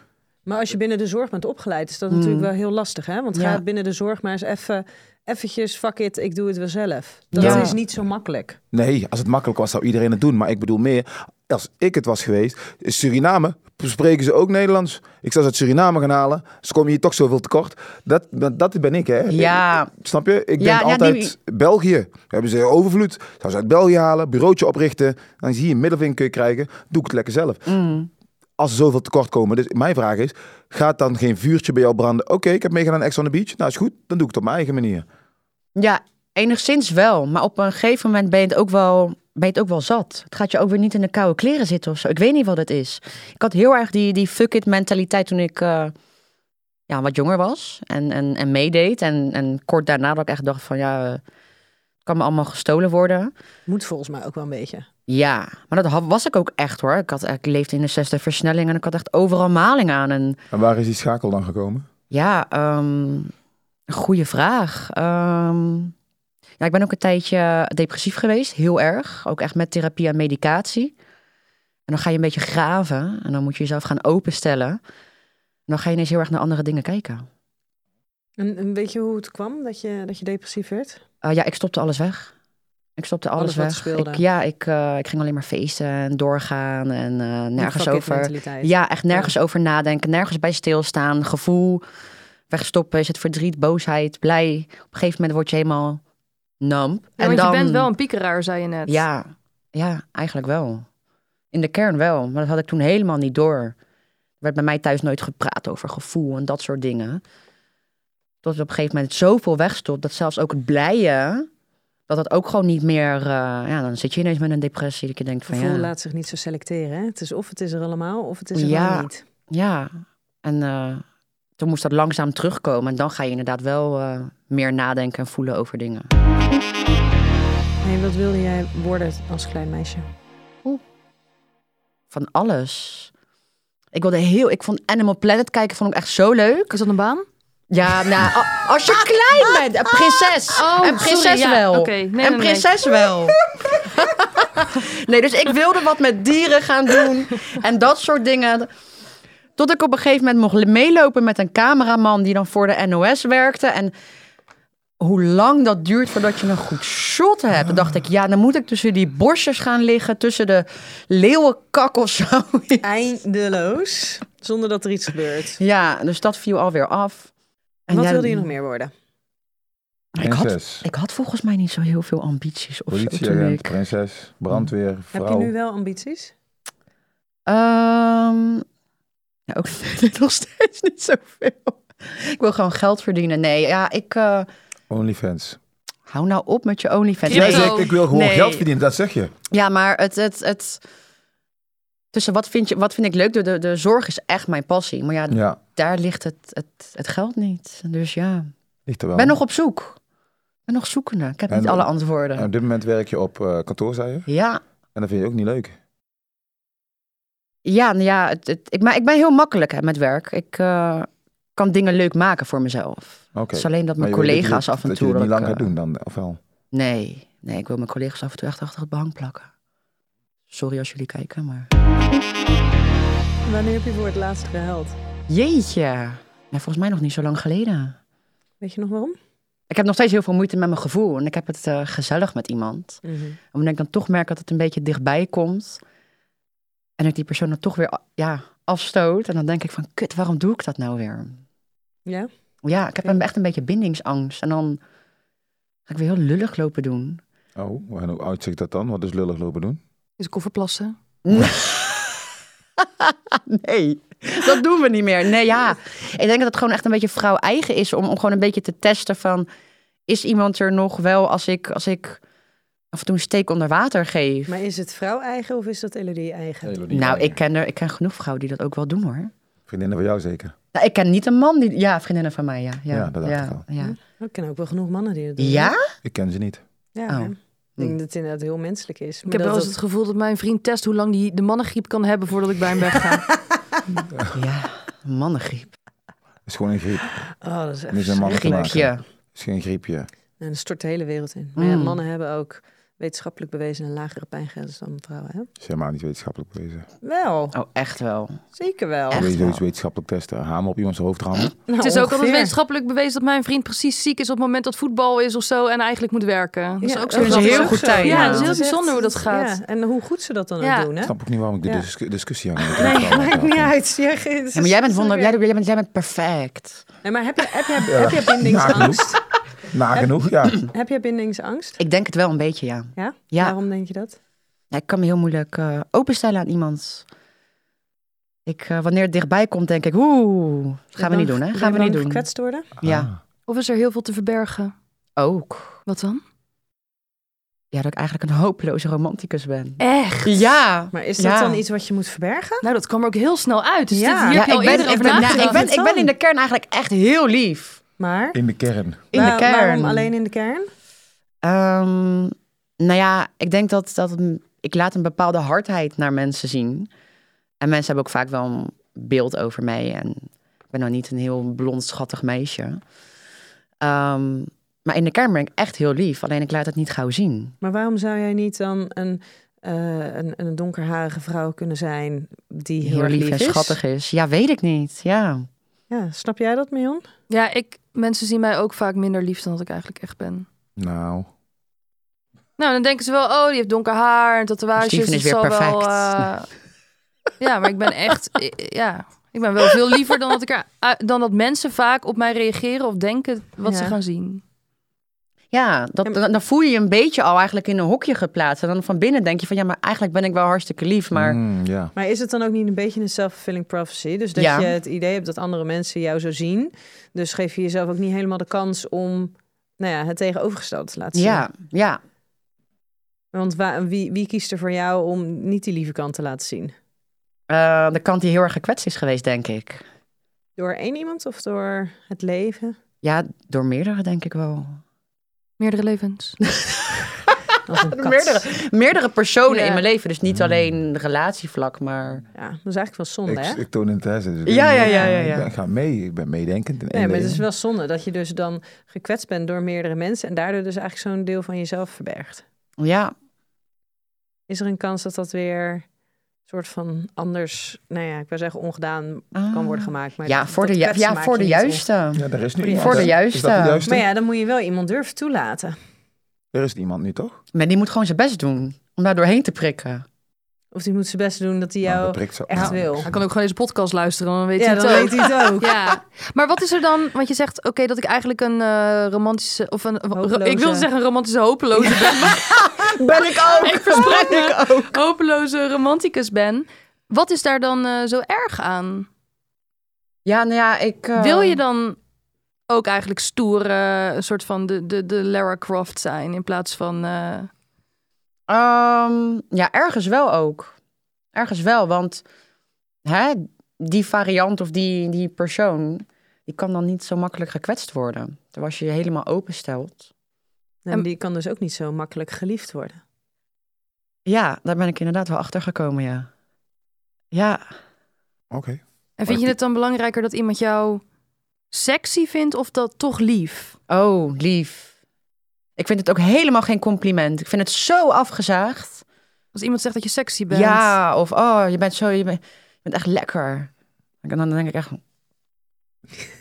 Speaker 4: Maar als je binnen de zorg bent opgeleid, is dat
Speaker 6: Hmm.
Speaker 4: natuurlijk wel heel lastig. Hè? Want
Speaker 6: Ja.
Speaker 4: ga binnen de zorg maar eens even, eventjes, fuck it, ik doe het wel zelf. Dat
Speaker 6: Ja.
Speaker 4: is niet zo makkelijk.
Speaker 5: nee, als het makkelijk was zou iedereen het doen. Maar ik bedoel meer, als ik het was geweest, in Suriname spreken ze ook Nederlands. Ik zou ze uit Suriname gaan halen, ze komen hier toch zoveel tekort. Dat, dat, dat ben ik hè.
Speaker 6: Ja.
Speaker 5: Snap je? Ik
Speaker 6: Ja, ja,
Speaker 5: denk altijd
Speaker 6: die-
Speaker 5: België. Hebben ze overvloed. Zou ze uit België halen, bureautje oprichten. Dan zie je een middelvinger krijgen. Doe ik het lekker zelf.
Speaker 6: Mm.
Speaker 5: Als ze zoveel tekort komen. Dus mijn vraag is, gaat dan geen vuurtje bij jou branden? Oké, ik heb meegedaan aan Ex on the Beach. Nou is goed, dan doe ik het op mijn eigen manier.
Speaker 6: Ja, enigszins wel. Maar op een gegeven moment ben je het ook wel, ben je het ook wel zat. Het gaat je ook weer niet in de koude kleren zitten of zo. Ik weet niet wat het is. Ik had heel erg die, die fuck it mentaliteit toen ik eh, ja, wat jonger was. En, en, en meedeed. En, en kort daarna dat ik echt dacht van ja, eh, kan me allemaal gestolen worden.
Speaker 4: Moet volgens mij ook wel een beetje.
Speaker 6: Ja, maar dat ha- was ik ook echt hoor. Ik, had, ik leefde in de zesde versnelling en ik had echt overal maling aan. En
Speaker 5: En waar is die schakel dan gekomen?
Speaker 6: ja, ehm, een goede vraag. Ehm, ja, ik ben ook een tijdje depressief geweest, heel erg. Ook echt met therapie en medicatie. En dan ga je een beetje graven en dan moet je jezelf gaan openstellen. En dan ga je ineens heel erg naar andere dingen kijken.
Speaker 4: En, en weet je hoe het kwam dat je, dat je depressief werd?
Speaker 6: Eh, ja, ik stopte alles weg. Ik stopte alles,
Speaker 4: Alles wat
Speaker 6: weg.
Speaker 4: speelde.
Speaker 6: Ik, ja, ik, eh, ik ging alleen maar feesten en doorgaan en eh, nergens
Speaker 4: Fuck it
Speaker 6: over.
Speaker 4: mentaliteit.
Speaker 6: Ja, echt nergens over nadenken, nergens bij stilstaan, gevoel wegstoppen. Is het verdriet, boosheid, blij? Op een gegeven moment word je helemaal nam.
Speaker 3: en want je bent wel een piekeraar, zei je net.
Speaker 6: Ja, ja, eigenlijk wel. In de kern wel, maar dat had ik toen helemaal niet door. Er werd bij mij thuis nooit gepraat over gevoel en dat soort dingen. Tot het op een gegeven moment zoveel wegstopt dat zelfs ook het blije, dat dat ook gewoon niet meer. eh, ja, dan zit je ineens met een depressie. Dat je denkt van
Speaker 4: Gevoel
Speaker 6: ja.
Speaker 4: laat zich niet zo selecteren. Hè? Het is of het is er allemaal, of het is er
Speaker 6: Ja.
Speaker 4: allemaal niet.
Speaker 6: Ja, en eh, toen moest dat langzaam terugkomen. En dan ga je inderdaad wel eh, meer nadenken en voelen over dingen.
Speaker 4: Hey, wat wilde jij worden als klein meisje?
Speaker 6: Van alles. Ik wilde heel, ik vond Animal Planet kijken, vond ik echt zo leuk.
Speaker 3: Is dat een baan?
Speaker 6: Ja, nou, a- als je klein bent, een prinses.
Speaker 3: Ah, Oh,
Speaker 6: en prinses
Speaker 3: sorry, ja,
Speaker 6: wel.
Speaker 3: oké. Nee, nee,
Speaker 6: en
Speaker 3: nee.
Speaker 6: prinses wel. nee, dus ik wilde wat met dieren gaan doen en dat soort dingen. Tot ik op een gegeven moment mocht meelopen met een cameraman die dan voor de NOS werkte. En hoe lang dat duurt voordat je een goed shot hebt. Toen dacht ik, ja, dan moet ik tussen die borstjes gaan liggen, tussen de leeuwenkak of zo.
Speaker 4: Eindeloos. Zonder dat er iets gebeurt.
Speaker 6: ja, dus dat viel alweer af. En
Speaker 4: wat
Speaker 6: ja,
Speaker 4: wilde je nog meer worden?
Speaker 6: Ik had
Speaker 5: Prinses,
Speaker 6: Oh Ik had volgens mij niet zo heel veel ambities of zo toen
Speaker 5: politieagent,
Speaker 6: ik...
Speaker 5: prinses, brandweer, vrouw.
Speaker 4: Heb je nu wel ambities?
Speaker 6: Ehm, ja, ook verder nog steeds niet zoveel. Ik wil gewoon geld verdienen. Nee, ja, ik... eh,
Speaker 5: Onlyfans.
Speaker 6: hou nou op met je OnlyFans.
Speaker 5: Jij
Speaker 3: Crypto.
Speaker 6: Nee,
Speaker 5: zegt, ik wil gewoon
Speaker 6: Nee.
Speaker 5: geld verdienen, dat zeg je.
Speaker 6: ja, maar het... het, het tussen wat vind, je, wat vind ik leuk? De, de, de zorg is echt mijn passie. Maar ja,
Speaker 5: Ja,
Speaker 6: daar ligt het, het, het geld niet. Dus ja,
Speaker 5: Oh. ligt er
Speaker 6: ik
Speaker 5: wel.
Speaker 6: ben nog op zoek. Ik ben nog zoekende. Ik heb
Speaker 5: En-
Speaker 6: niet alle
Speaker 5: En
Speaker 6: antwoorden.
Speaker 5: Nou, op dit moment werk je op eh, kantoor, zei je.
Speaker 6: Ja,
Speaker 5: En dat vind je ook niet leuk.
Speaker 6: Ja, nou ja het, het- ik, maar ik ben heel makkelijk hè, met werk. Ik eh, kan dingen leuk maken voor mezelf.
Speaker 5: Oké.
Speaker 6: Het is alleen dat mijn
Speaker 5: Maar je weet dat je
Speaker 6: collega's
Speaker 5: dit-
Speaker 6: af en
Speaker 5: dat
Speaker 6: toe...
Speaker 5: je dit niet
Speaker 6: dat
Speaker 5: lang
Speaker 6: ik,
Speaker 5: gaat
Speaker 6: eh,
Speaker 5: doen dan, of wel?
Speaker 6: Nee, nee, ik wil mijn collega's af en toe echt achter het behang plakken. Sorry als jullie kijken, maar...
Speaker 4: Wanneer heb je voor het laatst gehuild?
Speaker 6: Jeetje. Ja, volgens mij nog niet zo lang geleden.
Speaker 4: Weet je nog waarom?
Speaker 6: Ik heb nog steeds heel veel moeite met mijn gevoel. En ik heb het eh, gezellig met iemand. En Omdat ik dan toch merk dat het een beetje dichtbij komt. En dat ik die persoon dan toch weer a- ja, afstoot. En dan denk ik van, kut, waarom doe ik dat nou weer?
Speaker 4: Ja?
Speaker 6: Ja, ik heb een- echt een beetje bindingsangst. En dan ga ik weer heel lullig lopen doen.
Speaker 5: Oh, en hoe oud zegt dat dan? Wat is lullig lopen doen?
Speaker 3: Is kofferplassen?
Speaker 6: nee, dat doen we niet meer. Nee, ja. Ik denk dat het gewoon echt een beetje vrouw eigen is. Om, om gewoon een beetje te testen van... Is iemand er nog wel als ik, als ik af en toe een steek onder water geef?
Speaker 4: Maar is het vrouw eigen of is dat Elodie eigen?
Speaker 6: nou, ik ken, er, ik ken genoeg vrouwen die dat ook wel doen hoor.
Speaker 5: Vriendinnen van jou zeker.
Speaker 6: Nou, ik ken niet een man die... Ja, vriendinnen van mij, ja. Ja,
Speaker 5: Ja, dat dacht
Speaker 6: ja,
Speaker 5: ik al.
Speaker 6: Ja?
Speaker 4: Ik ken ook wel genoeg mannen die dat doen.
Speaker 6: Ja?
Speaker 5: Ik ken ze niet.
Speaker 4: Ja,
Speaker 6: Oh.
Speaker 4: hè? Ik denk dat het inderdaad heel menselijk is.
Speaker 3: Ik
Speaker 4: Maar
Speaker 3: heb
Speaker 4: dat
Speaker 3: wel eens
Speaker 4: dat-
Speaker 3: het gevoel dat mijn vriend test hoe lang die de mannengriep kan hebben voordat ik bij hem wegga.
Speaker 6: ja. Mannengriep.
Speaker 5: Het is gewoon een griep.
Speaker 4: Oh, dat is echt...
Speaker 5: Niet zijn mannen te maken.
Speaker 6: Griepje.
Speaker 5: Het is geen griepje.
Speaker 4: En dat stort de hele wereld in. Maar ja,
Speaker 6: Mm.
Speaker 4: mannen hebben ook wetenschappelijk bewezen een lagere pijngrens dan vrouwen. Hè?
Speaker 5: Ze helemaal niet wetenschappelijk bezig.
Speaker 4: Wel,
Speaker 6: Oh, echt wel.
Speaker 4: zeker wel.
Speaker 5: Wil
Speaker 6: Echt
Speaker 5: je zoiets
Speaker 6: wel.
Speaker 5: wetenschappelijk testen? Hamer op iemands hoofd rammen?
Speaker 4: Nou,
Speaker 3: het is ook altijd
Speaker 4: ongeveer.
Speaker 3: wetenschappelijk bewezen dat mijn vriend precies ziek is op het moment dat voetbal is of zo en eigenlijk moet werken. Dat is
Speaker 4: Ja,
Speaker 3: ook zo
Speaker 4: dat
Speaker 6: Kunnen ze
Speaker 3: grappig.
Speaker 4: is
Speaker 6: heel
Speaker 4: ook
Speaker 6: goed
Speaker 4: zo.
Speaker 6: timen.
Speaker 3: Ja, het is heel
Speaker 4: echt-
Speaker 3: bijzonder hoe dat gaat.
Speaker 4: Ja, en hoe goed ze dat dan
Speaker 3: Ja.
Speaker 4: ook doen,
Speaker 5: Ik
Speaker 4: hè?
Speaker 5: snap ook niet waarom ik de
Speaker 4: Ja.
Speaker 5: dis- discussie aan
Speaker 4: Nee, maakt niet uit. Ja, ge-
Speaker 6: Ja,
Speaker 4: het
Speaker 6: maar
Speaker 4: is-
Speaker 6: jij bent, wonder,
Speaker 4: sorry.
Speaker 6: jij, jij bent, jij bent perfect.
Speaker 4: Nee, maar heb je, heb je, heb je bindingsangst?
Speaker 5: Nagenoeg, ja.
Speaker 4: heb je bindingsangst?
Speaker 6: Ik denk het wel een beetje, ja.
Speaker 4: Ja?
Speaker 6: Ja.
Speaker 4: Waarom denk je dat?
Speaker 6: Ja, ik kan me heel moeilijk eh, openstellen aan iemand. Ik, eh, wanneer het dichtbij komt, denk ik, oeh, gaan we niet doen, hè? Gaan we niet doen.
Speaker 4: gekwetst worden?
Speaker 6: Ja,
Speaker 3: Of is er heel veel te verbergen?
Speaker 6: ook.
Speaker 3: Wat dan?
Speaker 6: Ja, dat ik eigenlijk een hopeloze romanticus ben.
Speaker 3: Echt?
Speaker 6: Ja.
Speaker 4: Maar is dat
Speaker 6: Ja.
Speaker 4: dan iets wat je moet verbergen?
Speaker 3: Nou, dat kwam er ook heel snel uit. Dus
Speaker 4: Ja.
Speaker 3: dit, hier
Speaker 6: Ja,
Speaker 3: heb je al
Speaker 6: ik ben,
Speaker 3: eerder
Speaker 6: ik,
Speaker 3: over
Speaker 6: ben, nou,
Speaker 3: nagedacht.
Speaker 6: ik, ben, ik ben in de kern eigenlijk echt heel lief.
Speaker 4: Maar
Speaker 5: In de kern.
Speaker 6: In
Speaker 4: waar-
Speaker 6: de kern.
Speaker 4: waarom alleen in de kern?
Speaker 6: Eh, Ehm, nou ja, ik denk dat, dat m- ik laat een bepaalde hardheid naar mensen zien. En mensen hebben ook vaak wel een beeld over mij. En ik ben nou niet een heel blond, schattig meisje. Ehm, maar in de kern ben ik echt heel lief. Alleen ik laat het niet gauw zien.
Speaker 4: Maar waarom zou jij niet dan een, eh, een, een donkerharige vrouw kunnen zijn die heel,
Speaker 6: Heel
Speaker 4: erg
Speaker 6: lief en
Speaker 4: is?
Speaker 6: schattig is. Ja, weet ik niet. Ja.
Speaker 4: Ja, snap jij dat, Mion?
Speaker 3: Ja, ik, mensen zien mij ook vaak minder lief dan dat ik eigenlijk echt ben.
Speaker 5: Nou,
Speaker 3: Nou, dan denken ze wel, oh, die heeft donker haar, en tatoeages.
Speaker 6: Steven is
Speaker 3: dat
Speaker 6: weer
Speaker 3: zal Wel,
Speaker 6: perfect.
Speaker 3: eh, ja, maar ik ben echt, eh, ja, ik ben wel veel liever dan dat, ik er, eh, dan dat mensen vaak op mij reageren of denken wat ze
Speaker 4: Ja.
Speaker 3: gaan zien.
Speaker 6: Ja, dat,
Speaker 4: Ja,
Speaker 6: dan, dan voel je je een beetje al eigenlijk in een hokje geplaatst. En dan van binnen denk je van ja, maar eigenlijk ben ik wel hartstikke lief. Maar
Speaker 5: mm, ja.
Speaker 4: Maar is het dan ook niet een beetje een self-fulfilling prophecy? Dus dat
Speaker 6: Ja.
Speaker 4: je het idee hebt dat andere mensen jou zo zien. Dus geef je jezelf ook niet helemaal de kans om nou ja, het tegenovergestelde te laten zien.
Speaker 6: ja, ja.
Speaker 4: Want wa- wie, wie kiest er voor jou om niet die lieve kant te laten zien?
Speaker 6: Eh, de kant die heel erg gekwetst is geweest, denk ik.
Speaker 4: Door één iemand of door het leven?
Speaker 6: Ja, door meerdere denk ik wel.
Speaker 3: Meerdere levens.
Speaker 4: Als een kat.
Speaker 6: Meerdere, meerdere personen
Speaker 3: Ja.
Speaker 6: in mijn leven. Dus niet alleen relatievlak, maar...
Speaker 4: Ja, dat is eigenlijk wel zonde, hè?
Speaker 5: Ik, ik toon interesse. Dus ik
Speaker 6: Ja,
Speaker 5: weet niet.
Speaker 6: ja, ja, ja,
Speaker 5: Ik,
Speaker 6: ja.
Speaker 5: ben- ik ga mee, ik ben meedenkend.
Speaker 4: Nee,
Speaker 5: in één
Speaker 4: maar het
Speaker 5: ding.
Speaker 4: is wel zonde dat je dus dan gekwetst bent door meerdere mensen en daardoor dus eigenlijk zo'n deel van jezelf verbergt.
Speaker 6: Ja,
Speaker 4: Is er een kans dat dat weer een soort van anders, nou ja, ik wil zeggen ongedaan kan worden gemaakt? Maar
Speaker 6: Ah. ja
Speaker 4: dat-
Speaker 6: voor de,
Speaker 4: dat
Speaker 6: ju-
Speaker 4: kwetsen
Speaker 6: ja,
Speaker 4: maak
Speaker 6: voor
Speaker 4: je
Speaker 6: de Dus
Speaker 4: niet
Speaker 6: juiste.
Speaker 5: Ja, er is nu
Speaker 4: Voor
Speaker 5: iemand.
Speaker 6: de
Speaker 5: hè?
Speaker 6: juiste.
Speaker 5: Is dat de
Speaker 4: op.
Speaker 5: juiste?
Speaker 4: Maar ja, dan moet je wel iemand durven toelaten
Speaker 5: Er is niemand nu, toch?
Speaker 6: Maar die moet gewoon zijn best doen. Om daar doorheen te prikken.
Speaker 4: of die moet zijn best doen dat hij
Speaker 5: Nou,
Speaker 4: jou
Speaker 5: dat prikt zo.
Speaker 4: echt
Speaker 5: Ja.
Speaker 4: wil.
Speaker 3: Hij kan ook gewoon deze podcast luisteren, dan weet
Speaker 4: Ja,
Speaker 3: hij
Speaker 4: dan
Speaker 3: het ook.
Speaker 4: weet hij het ook.
Speaker 3: Ja, maar wat is er dan? Want je zegt, oké, dat ik eigenlijk een eh, romantische of een
Speaker 4: Hopeloze.
Speaker 3: ik wilde zeggen een romantische hopeloze ben, maar
Speaker 6: Ben ik ook!
Speaker 3: ik verspreid me hopeloze romanticus ben. Wat is daar dan eh, zo erg aan?
Speaker 6: Ja, nou ja, ik... eh,
Speaker 3: Wil je dan ook eigenlijk stoer, eh, een soort van de, de, de Lara Croft zijn in plaats van eh,
Speaker 6: Ehm, ja, ergens wel ook. Ergens wel, want hè, die variant of die, die persoon... die kan dan niet zo makkelijk gekwetst worden. Terwijl als je je helemaal openstelt...
Speaker 4: En die kan dus ook niet zo makkelijk geliefd worden.
Speaker 6: Ja, daar ben ik inderdaad wel achter gekomen, ja. Ja,
Speaker 5: Oké.
Speaker 3: en vind je het dan belangrijker dat iemand jou sexy vindt of dat toch lief?
Speaker 6: oh, lief. Ik vind het ook helemaal geen compliment. Ik vind het zo afgezaagd.
Speaker 3: Als iemand zegt dat je sexy bent.
Speaker 6: Ja, of oh, je bent zo, je bent, je bent echt lekker. En dan denk ik echt,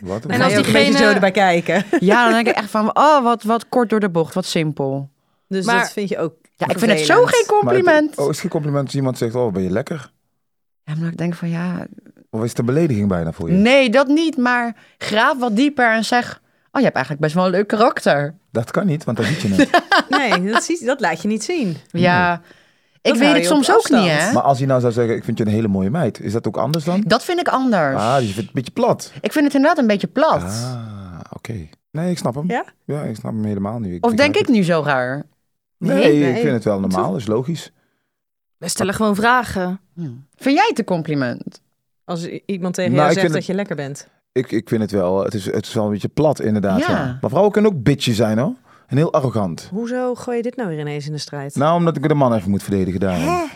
Speaker 5: Wat?
Speaker 3: En als
Speaker 4: Ga je ook een beetje
Speaker 3: diegene-
Speaker 4: zo erbij kijken.
Speaker 6: ja, dan denk ik echt van, oh, wat, wat kort door de bocht, wat simpel.
Speaker 4: Dus
Speaker 3: Maar-
Speaker 4: dat vind je ook.
Speaker 6: Ja, ik vind het zo
Speaker 4: vervelend.
Speaker 6: geen
Speaker 5: Maar het-
Speaker 6: compliment.
Speaker 5: oh, is het geen compliment als iemand zegt, oh, ben je lekker?
Speaker 6: Ja, maar ik denk van, ja,
Speaker 5: Of is het een belediging bijna voor je?
Speaker 6: nee, dat niet, maar graaf wat dieper en zeg, oh, je hebt eigenlijk best wel een leuk karakter.
Speaker 5: Dat kan niet, want dat ziet je niet.
Speaker 4: Nee, dat, zie- dat laat je niet zien.
Speaker 6: Ja, ik
Speaker 4: hou
Speaker 6: weet
Speaker 4: je
Speaker 6: het
Speaker 4: op
Speaker 6: soms ook
Speaker 4: afstand.
Speaker 6: niet, hè.
Speaker 5: maar als hij nou zou zeggen, ik vind je een hele mooie meid, is dat ook anders dan?
Speaker 6: Dat vind ik anders.
Speaker 5: Ah, dus je vindt het een beetje plat.
Speaker 6: Ik vind het inderdaad een beetje plat.
Speaker 5: Ah, oké. Nee, ik snap hem.
Speaker 4: Ja?
Speaker 5: Ja, ik snap hem helemaal nu.
Speaker 6: Of denk ik
Speaker 5: begrijp
Speaker 6: nu zo raar?
Speaker 5: het. Nee,
Speaker 4: Nee,
Speaker 5: ik
Speaker 4: nee.
Speaker 5: vind het wel normaal, is logisch.
Speaker 3: We stellen gewoon vragen.
Speaker 6: Vind jij het een compliment?
Speaker 4: Als i- iemand tegen
Speaker 5: Nou,
Speaker 4: jou zegt
Speaker 5: ik vind
Speaker 4: dat
Speaker 5: het-
Speaker 4: je lekker bent.
Speaker 5: Ik, ik vind het wel, het is, het is wel een beetje plat inderdaad.
Speaker 6: Ja.
Speaker 5: Ja. Maar vrouwen kunnen ook bitchy zijn hoor. En heel arrogant.
Speaker 4: Hoezo gooi je dit nou weer ineens in de strijd?
Speaker 5: Nou, omdat ik de man even moet verdedigen daarom. Ja,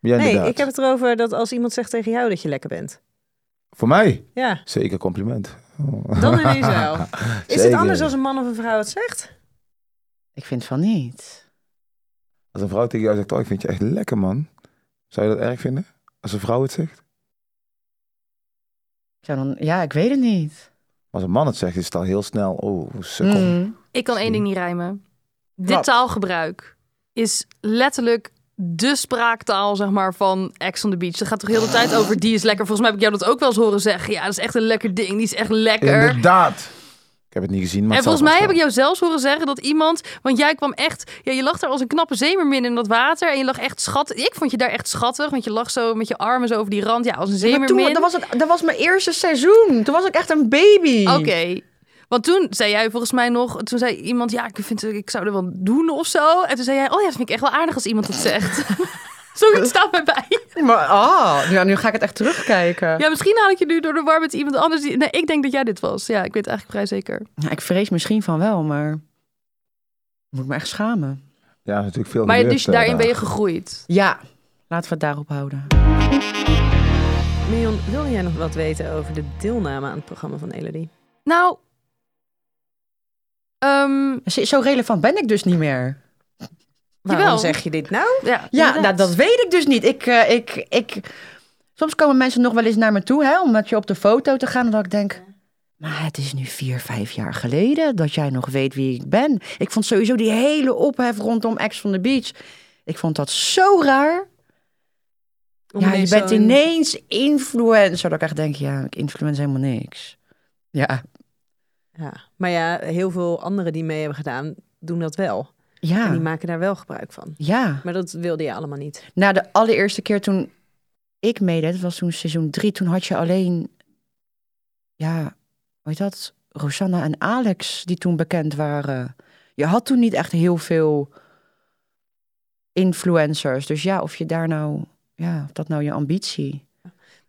Speaker 4: nee,
Speaker 5: inderdaad.
Speaker 4: ik heb het erover dat als iemand zegt tegen jou dat je lekker bent.
Speaker 5: Voor mij,
Speaker 4: Ja,
Speaker 5: zeker compliment.
Speaker 4: dan ineens wel. Is het
Speaker 5: Zeker.
Speaker 4: anders als een man of een vrouw het zegt?
Speaker 6: Ik vind van niet.
Speaker 5: Als een vrouw tegen jou zegt, oh, ik vind je echt lekker man. Zou je dat erg vinden? Als een vrouw het zegt?
Speaker 6: Ik zou dan, ja, ik weet het niet.
Speaker 5: Als een man het zegt, is het al heel snel, oh, sukkel.
Speaker 6: Mm.
Speaker 3: Ik kan één
Speaker 5: Zie.
Speaker 3: ding niet rijmen. Dit
Speaker 6: Wat?
Speaker 3: taalgebruik is letterlijk de spraaktaal, zeg maar, van Ex on the Beach. Dat gaat toch heel de tijd over, die is lekker. Volgens mij heb ik jou dat ook wel eens horen zeggen. Ja, dat is echt een lekker ding, die is echt lekker.
Speaker 5: Inderdaad. Ik heb het niet gezien, maar
Speaker 3: en
Speaker 5: het zal
Speaker 3: volgens mij
Speaker 5: vast
Speaker 3: heb ik
Speaker 5: wel.
Speaker 3: jou zelfs horen zeggen dat iemand... Want jij kwam echt... Ja, je lag daar als een knappe zeemermin in dat water. En je lag echt schattig. Ik vond je daar echt schattig. Want je lag zo met je armen zo over die rand. Ja, als een
Speaker 6: Ja, maar
Speaker 3: zeemermin.
Speaker 6: toen, dat, was het, dat was mijn eerste seizoen. Toen was ik echt een baby.
Speaker 3: Oké. Want toen zei jij volgens mij nog, toen zei iemand, ja, ik, vind, ik zou er wel doen of zo. En toen zei jij, oh ja, dat vind ik echt wel aardig als iemand dat zegt. Zoiets staat mij bij.
Speaker 6: Maar ah, nu, nu ga ik het echt terugkijken.
Speaker 3: Ja, misschien haal ik je nu door de war met iemand anders. Die... Nee, ik denk dat jij dit was. Ja, ik weet het eigenlijk vrij zeker.
Speaker 6: Nou, ik vrees misschien van wel, maar... Moet ik me echt schamen.
Speaker 5: Ja, natuurlijk veel
Speaker 3: Maar
Speaker 5: gebeurd,
Speaker 3: dus
Speaker 5: eh,
Speaker 3: daarin ben je
Speaker 5: daar.
Speaker 3: gegroeid.
Speaker 6: Ja, laten we het daarop houden.
Speaker 4: Mion, wilde jij nog wat weten over de deelname aan het programma van Elodie?
Speaker 3: Nou, ehm,
Speaker 6: Zo zo relevant ben ik dus niet meer.
Speaker 4: Waarom
Speaker 3: Jawel.
Speaker 4: zeg je dit nou?
Speaker 3: ja,
Speaker 6: Ja,
Speaker 3: inderdaad.
Speaker 6: nou, dat weet ik dus niet. Ik, eh, ik, ik... Soms komen mensen nog wel eens naar me toe, hè, omdat je op de foto te gaan. En dat ik denk, maar het is nu vier, vijf jaar geleden dat jij nog weet wie ik ben. Ik vond sowieso die hele ophef rondom Ex on the Beach. Ik vond dat zo raar.
Speaker 4: Om
Speaker 6: Ja, je
Speaker 4: ineens
Speaker 6: bent
Speaker 4: zo'n-
Speaker 6: ineens influencer. Dat ik echt denk, ja, ik influence helemaal niks. Ja,
Speaker 4: Ja. Maar ja, heel veel anderen die mee hebben gedaan, doen dat wel. En die
Speaker 6: ja,
Speaker 4: maken daar wel gebruik van.
Speaker 6: ja.
Speaker 4: Maar dat wilde je allemaal niet.
Speaker 6: Na de allereerste keer toen ik meedeed, dat was toen seizoen drie, toen had je alleen, ja, hoe heet dat? Rosanna en Alex, die toen bekend waren. Je had toen niet echt heel veel influencers. Dus ja, of je daar nou, ja, of dat nou je ambitie.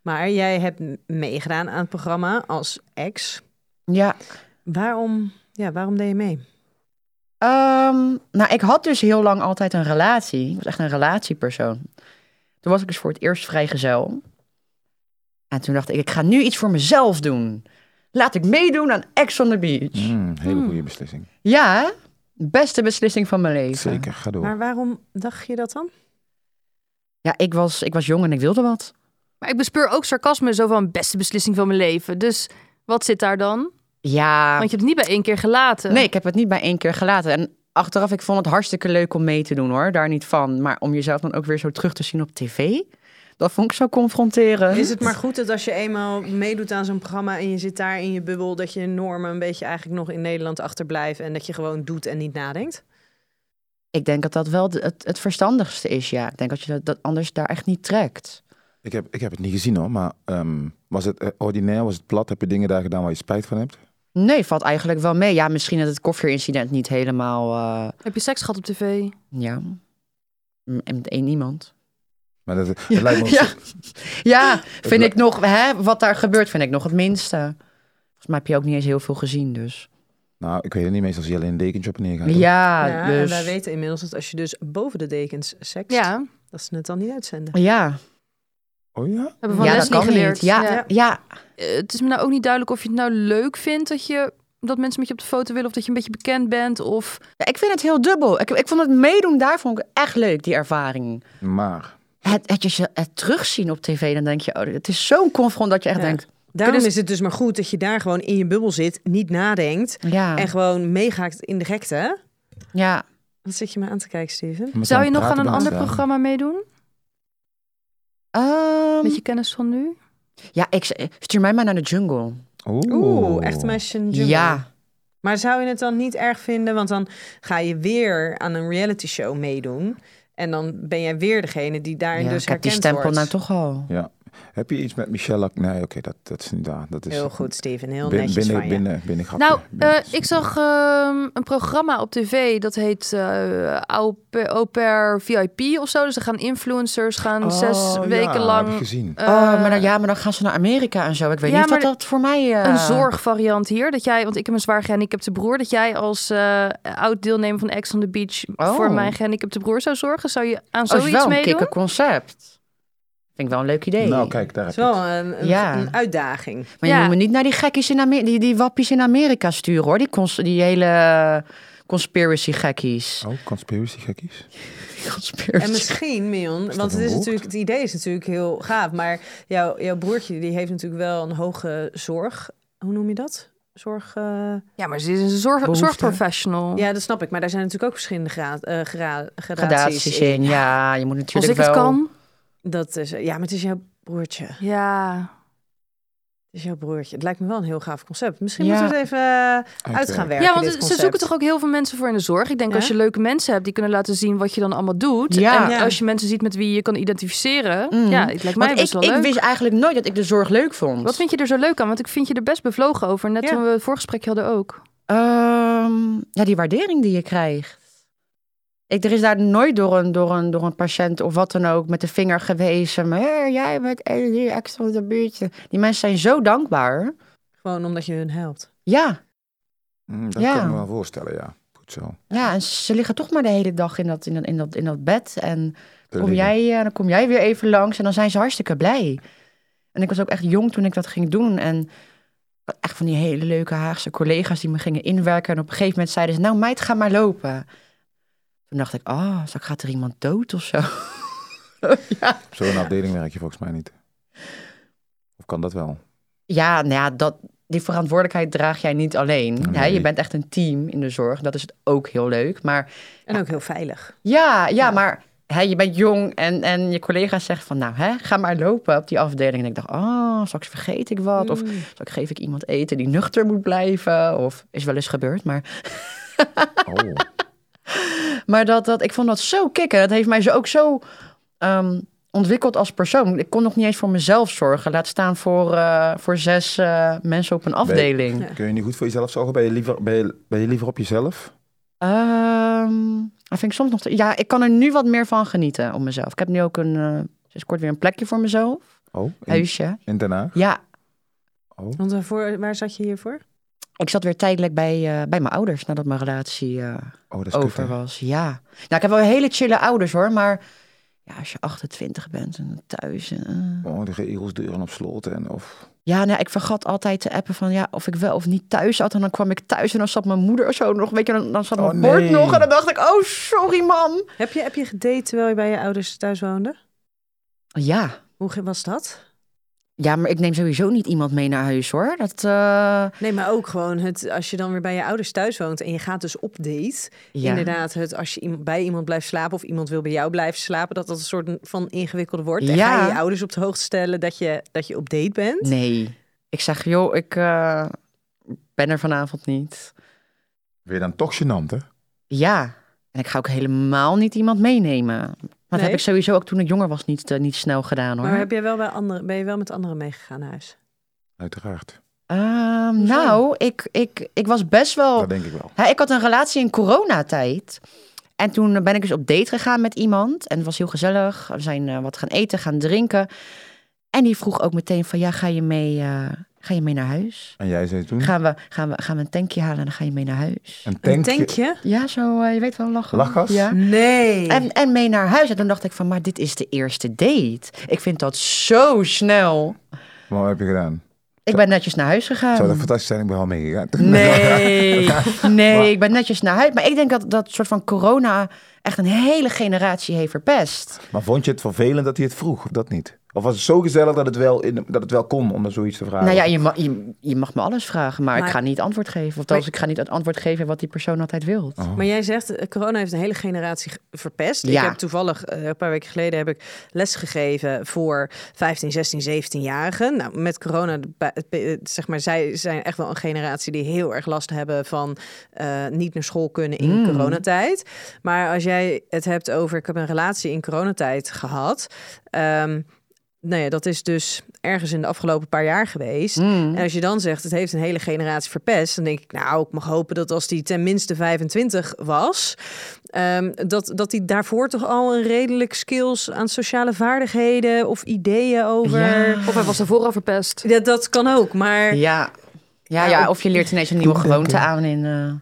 Speaker 4: Maar jij hebt m- meegedaan aan het programma als ex.
Speaker 6: Ja,
Speaker 4: Waarom, ja, waarom deed je mee?
Speaker 6: Ehm, nou, ik had dus heel lang altijd een relatie. Ik was echt een relatiepersoon. Toen was ik dus voor het eerst vrijgezel. En toen dacht ik, ik ga nu iets voor mezelf doen. Laat ik meedoen aan Ex on the Beach.
Speaker 5: Mm,
Speaker 3: Hmm.
Speaker 5: hele goede beslissing.
Speaker 6: Ja, hè? beste beslissing van mijn leven.
Speaker 5: Zeker, ga door.
Speaker 4: Maar waarom dacht je dat dan?
Speaker 6: Ja, ik was, ik was jong en ik wilde wat.
Speaker 3: Maar ik bespeur ook sarcasme zo van beste beslissing van mijn leven. Dus wat zit daar dan?
Speaker 6: Ja,
Speaker 3: Want je hebt het niet bij één keer gelaten.
Speaker 6: nee, ik heb het niet bij één keer gelaten. En achteraf, ik vond het hartstikke leuk om mee te doen hoor. Daar niet van. Maar om jezelf dan ook weer zo terug te zien op tv... Dat vond ik zo confronterend.
Speaker 4: Is het maar goed dat als je eenmaal meedoet aan zo'n programma en je zit daar in je bubbel, dat je normen een beetje eigenlijk nog in Nederland achterblijft en dat je gewoon doet en niet nadenkt?
Speaker 6: Ik denk dat dat wel de- het, het verstandigste is, ja. Ik denk dat je dat, dat anders daar echt niet trekt.
Speaker 5: Ik, heb, ik heb het niet gezien hoor, maar ehm, was het eh, ordinair, was het plat? Heb je dingen daar gedaan waar je spijt van hebt?
Speaker 6: Nee, valt eigenlijk wel mee. Ja, misschien dat het koffierincident niet helemaal... eh,
Speaker 3: Heb je seks gehad op tv?
Speaker 6: ja, M- met één iemand.
Speaker 5: Maar dat, het lijkt me
Speaker 6: ja. ja, vind
Speaker 5: li-
Speaker 6: ik nog... Hè, wat daar gebeurt vind ik nog het minste. Volgens mij heb je ook niet eens heel veel gezien, dus...
Speaker 5: Nou, ik weet het niet, meestal als je alleen een dekentje op en neer gaat. hoor.
Speaker 6: Ja,
Speaker 4: ja, en
Speaker 6: dus...
Speaker 4: wij weten inmiddels dat als je dus boven de dekens seks,
Speaker 3: Ja,
Speaker 4: dat ze het dan niet uitzenden.
Speaker 6: Ja,
Speaker 5: Oh ja?
Speaker 3: hebben we van
Speaker 6: ja dat
Speaker 3: Leslie
Speaker 6: kan
Speaker 3: geleerd.
Speaker 6: niet. Ja, ja. ja.
Speaker 3: Eh, het is me nou ook niet duidelijk of je het nou leuk vindt dat je dat mensen met je op de foto willen of dat je een beetje bekend bent of
Speaker 6: ik vind het heel dubbel. Ik, ik vond het meedoen daar vond ik echt leuk, die ervaring.
Speaker 5: Maar,
Speaker 6: het, het, je- het terugzien op tv, dan denk je, oh, het is zo'n confront dat je echt
Speaker 4: Ja.
Speaker 6: denkt,
Speaker 4: Daarom
Speaker 3: Kunnen
Speaker 4: is het dus maar goed dat je daar gewoon in je bubbel zit, niet nadenkt
Speaker 6: ja,
Speaker 4: en gewoon meegaat in de gekte.
Speaker 6: ja.
Speaker 4: Wat zit je me aan te kijken, Steven?
Speaker 5: met
Speaker 3: zou je
Speaker 5: aan
Speaker 3: nog
Speaker 5: het
Speaker 3: aan een
Speaker 5: praten
Speaker 3: ander
Speaker 5: ben ik daar.
Speaker 3: programma meedoen
Speaker 6: Ehm,
Speaker 3: met je kennis van nu?
Speaker 6: Ja, ik, z- stuur mij maar naar de jungle.
Speaker 5: Oeh,
Speaker 4: Oeh, echt meisje in de jungle.
Speaker 6: Ja,
Speaker 4: Maar zou je het dan niet erg vinden? Want dan ga je weer aan een reality show meedoen. En dan ben jij weer degene die daarin
Speaker 6: ja
Speaker 4: dus
Speaker 6: ik heb die
Speaker 4: herkend
Speaker 6: stempel
Speaker 4: wordt.
Speaker 6: nou toch al.
Speaker 5: Ja. Heb je iets met Michelle? Lac- Nee, oké, dat, dat is niet waar. Dat is
Speaker 4: Heel goed, Steven. Heel
Speaker 5: bin-
Speaker 4: netjes
Speaker 5: binnen,
Speaker 4: van je.
Speaker 5: binnen, binnen, grapje.
Speaker 3: Nou,
Speaker 5: Binnen-
Speaker 3: eh, ik zag ehm, een programma op tv dat heet eh Au Pair- Au Pair VIP of zo. Dus er gaan influencers gaan zes
Speaker 5: Oh,
Speaker 3: weken
Speaker 5: ja,
Speaker 3: lang
Speaker 5: Heb ik gezien.
Speaker 3: eh,
Speaker 6: oh, maar dan, ja, maar dan gaan ze naar Amerika en zo. Ik weet
Speaker 3: Ja,
Speaker 6: niet wat
Speaker 3: maar
Speaker 6: dat voor mij... eh,
Speaker 3: een zorgvariant hier. Dat jij, want ik heb een zwaar gehandicapte broer. Dat jij als eh, oud deelnemer van Ex on the Beach
Speaker 6: Oh.
Speaker 3: voor mijn gehandicapte broer zou zorgen. Zou je aan
Speaker 6: Oh, is
Speaker 3: zoiets
Speaker 6: wel een
Speaker 3: meedoen?
Speaker 6: kikker concept. Vind ik wel een leuk idee.
Speaker 5: Nou, kijk, daar
Speaker 4: Het
Speaker 5: heb
Speaker 4: is
Speaker 5: je het.
Speaker 4: wel een, een,
Speaker 6: Ja.
Speaker 4: een uitdaging.
Speaker 6: Maar je
Speaker 3: Ja.
Speaker 6: moet me niet naar die gekkies in Amerika, die, die wappies in Amerika sturen hoor. Die, cons- die hele conspiracy gekkies.
Speaker 5: Oh, conspiracy gekkies. Oh.
Speaker 4: En misschien, Mion,
Speaker 5: dat
Speaker 4: want het,
Speaker 5: een
Speaker 4: is
Speaker 5: woord?
Speaker 4: natuurlijk, het idee is natuurlijk heel gaaf. Maar jouw jouw broertje die heeft natuurlijk wel een hoge zorg. Hoe noem je dat? Zorg. eh,
Speaker 3: Ja, maar ze is een zorg,
Speaker 6: Behoefte.
Speaker 3: zorgprofessional.
Speaker 4: Ja, dat snap ik. Maar daar zijn natuurlijk ook verschillende gra eh, gra- gradaties
Speaker 6: Gradaties
Speaker 4: in.
Speaker 6: in, ja. Je moet
Speaker 3: Als
Speaker 6: natuurlijk
Speaker 3: ik het
Speaker 6: wel...
Speaker 3: kan.
Speaker 4: Dat is, ja, maar het is jouw broertje. Het
Speaker 3: Ja.
Speaker 4: is jouw broertje. Het lijkt me wel een heel gaaf concept. Misschien
Speaker 6: Ja.
Speaker 4: moeten we het even eh, uit
Speaker 5: Uitwerken.
Speaker 4: gaan werken.
Speaker 3: ja, want
Speaker 4: dit
Speaker 3: ze
Speaker 4: concept.
Speaker 3: zoeken toch ook heel veel mensen voor in de zorg. Ik denk
Speaker 4: Ja.
Speaker 3: als je leuke mensen hebt die kunnen laten zien wat je dan allemaal doet.
Speaker 6: Ja.
Speaker 3: En
Speaker 4: Ja.
Speaker 3: als je mensen ziet met wie je kan identificeren.
Speaker 6: Mm.
Speaker 3: Ja, het lijkt mij
Speaker 6: Want
Speaker 3: best
Speaker 6: ik,
Speaker 3: wel
Speaker 6: ik
Speaker 3: leuk.
Speaker 6: wist eigenlijk nooit dat ik de zorg leuk vond.
Speaker 3: Wat vind je er zo leuk aan? Want ik vind je er best bevlogen over. Net
Speaker 4: Ja.
Speaker 3: toen we het voorgesprekje hadden ook.
Speaker 6: Ehm, ja, die waardering die je krijgt. Ik, er is daar nooit door een, door, een, door een patiënt of wat dan ook met de vinger gewezen. Maar "Hé, jij bent Elodie, extra de buurtje. Die mensen zijn zo dankbaar.
Speaker 4: Gewoon omdat je hun helpt.
Speaker 6: Ja,
Speaker 5: Mm, dat
Speaker 6: Ja.
Speaker 5: kan ik me wel voorstellen, ja. Goed zo.
Speaker 6: Ja, en ze liggen toch maar de hele dag in dat, in dat, in dat, in dat bed. En
Speaker 5: Te
Speaker 6: kom
Speaker 5: liggen.
Speaker 6: jij, eh, dan kom jij weer even langs en dan zijn ze hartstikke blij. En ik was ook echt jong toen ik dat ging doen. En ik had echt van die hele leuke Haagse collega's die me gingen inwerken. En op een gegeven moment zeiden ze, nou meid, ga maar lopen. Toen dacht ik, ah, straks gaat er iemand dood of zo. ja.
Speaker 5: Op zo'n afdeling werk je volgens mij niet. Of kan dat wel?
Speaker 6: Ja, nou ja, dat, die verantwoordelijkheid draag jij niet alleen. Hè,
Speaker 5: nee.
Speaker 6: je bent echt een team in de zorg. Dat is ook heel leuk. Maar
Speaker 4: En ook heel veilig.
Speaker 6: Ja, ja, maar hè, je bent jong en, en je collega zegt van, nou, hè, ga maar lopen op die afdeling. En ik dacht, oh, straks vergeet ik wat. Of straks geef ik iemand eten die nuchter moet blijven. Of is wel eens gebeurd, maar,
Speaker 5: Oh,
Speaker 6: maar dat, dat, ik vond dat zo kicken. Dat heeft mij zo, ook zo ehm, ontwikkeld als persoon. Ik kon nog niet eens voor mezelf zorgen. Laat staan voor, eh, voor zes eh, mensen op een afdeling.
Speaker 5: kun je niet goed voor jezelf zorgen? Ben je liever, ben je, ben je liever op jezelf?
Speaker 6: Ehm, dat vind ik soms nog. te- Ja, ik kan er nu wat meer van genieten om mezelf. Ik heb nu ook een. eh, sinds kort weer een plekje voor mezelf.
Speaker 5: Oh, in,
Speaker 6: Huisje.
Speaker 5: in Den Haag?
Speaker 6: Ja,
Speaker 5: Oh,
Speaker 4: Want waarvoor, waar zat je hiervoor?
Speaker 6: ik zat weer tijdelijk bij, eh, bij mijn ouders nadat mijn relatie eh,
Speaker 5: oh dat is kut,
Speaker 6: over
Speaker 5: hè?
Speaker 6: was. Ja. Nou, ik heb wel hele chille ouders hoor, maar ja, als je 28 bent en thuis. en, eh.
Speaker 5: Oh, de regels deuren op slot en of...
Speaker 6: Ja, nou, ik vergat altijd te appen van ja, of ik wel of niet thuis zat. En dan kwam ik thuis en dan zat mijn moeder of zo nog. Weet je, dan, dan zat
Speaker 5: Oh,
Speaker 6: mijn bord
Speaker 5: nee.
Speaker 6: nog. En dan dacht ik, oh sorry man.
Speaker 4: Heb je, heb je gedate terwijl je bij je ouders thuis woonde?
Speaker 6: Ja,
Speaker 4: Hoe ge- was dat?
Speaker 6: Ja, maar ik neem sowieso niet iemand mee naar huis hoor. Dat, eh,
Speaker 4: Nee, maar ook gewoon het, als je dan weer bij je ouders thuis woont en je gaat dus op date.
Speaker 6: ja.
Speaker 4: Inderdaad, het, als je iem- bij iemand blijft slapen of iemand wil bij jou blijven slapen, dat dat een soort van ingewikkelde wordt. En
Speaker 6: Ja.
Speaker 4: ga je je ouders op de hoogte stellen dat je, dat je op date bent?
Speaker 6: Nee. Ik zeg, joh, ik eh, ben er vanavond niet.
Speaker 5: Weer dan toch gênant, hè?
Speaker 6: Ja. En ik ga ook helemaal niet iemand meenemen. Maar dat heb ik
Speaker 4: Nee?
Speaker 6: sowieso ook toen ik jonger was niet, eh, niet snel gedaan hoor.
Speaker 4: Maar heb jij wel bij andere, ben je wel met anderen meegegaan naar huis?
Speaker 5: Uiteraard.
Speaker 6: Ehm, nou, ik, ik, ik was best wel...
Speaker 5: Dat denk ik wel.
Speaker 6: Hè, ik had een relatie in coronatijd. En toen ben ik dus op date gegaan met iemand. En het was heel gezellig. We zijn eh, wat gaan eten, gaan drinken. En die vroeg ook meteen van, ja, ga je mee, eh, ga je mee naar huis?
Speaker 5: En jij zei toen?
Speaker 6: Gaan we, gaan, we, gaan we een tankje halen en dan ga je mee naar huis?
Speaker 5: Een
Speaker 4: Een
Speaker 5: tankje.
Speaker 4: tankje?
Speaker 6: Ja, zo, eh, je weet wel, lachen.
Speaker 5: Lachgas?
Speaker 6: Ja.
Speaker 4: Nee.
Speaker 6: En, en mee naar huis. En toen dacht ik van, maar dit is de eerste date. Ik vind dat zo snel.
Speaker 5: Wat heb je gedaan?
Speaker 6: Ik ben netjes naar huis gegaan.
Speaker 5: Zou dat fantastisch zijn? Ik ben wel meegegaan.
Speaker 6: Ehm. Nee, nee, ik ben netjes naar huis. Maar ik denk dat dat soort van corona echt een hele generatie heeft verpest.
Speaker 5: Maar vond je het vervelend dat hij het vroeg? Of dat niet? Of was het zo gezellig dat het wel, in, dat het wel kon om dan zoiets te vragen?
Speaker 6: Nou ja, je, ma- je, je mag me alles vragen, maar,
Speaker 4: Maar-
Speaker 6: ik ga niet antwoord geven. Of althans, ik ga niet het antwoord geven wat die persoon altijd wil.
Speaker 4: Maar jij zegt, eh, corona heeft een hele generatie ge- verpest.
Speaker 6: Ja.
Speaker 4: Ik heb toevallig, eh, een paar weken geleden heb ik les gegeven voor 15, 16, 17-jarigen. Nou, met corona, de ba- het pe- eh, zeg maar, zij zijn echt wel een generatie die heel erg last hebben van eh, niet naar school kunnen in coronatijd. Maar als jij het hebt over, ik heb een relatie in coronatijd gehad. ehm, nou ja, dat is dus ergens in de afgelopen paar jaar geweest.
Speaker 6: Hmm.
Speaker 4: En als je dan zegt, het heeft een hele generatie verpest, dan denk ik, nou, ik mag hopen dat als die tenminste 25 was, ehm, dat, dat die daarvoor toch al een redelijk skills aan sociale vaardigheden of ideeën over.
Speaker 6: Ja.
Speaker 3: Of hij was daarvoor al verpest.
Speaker 4: Ja, dat kan ook, maar
Speaker 6: Ja. Ja, ja, of je leert ineens een nieuwe gewoonte aan in... eh,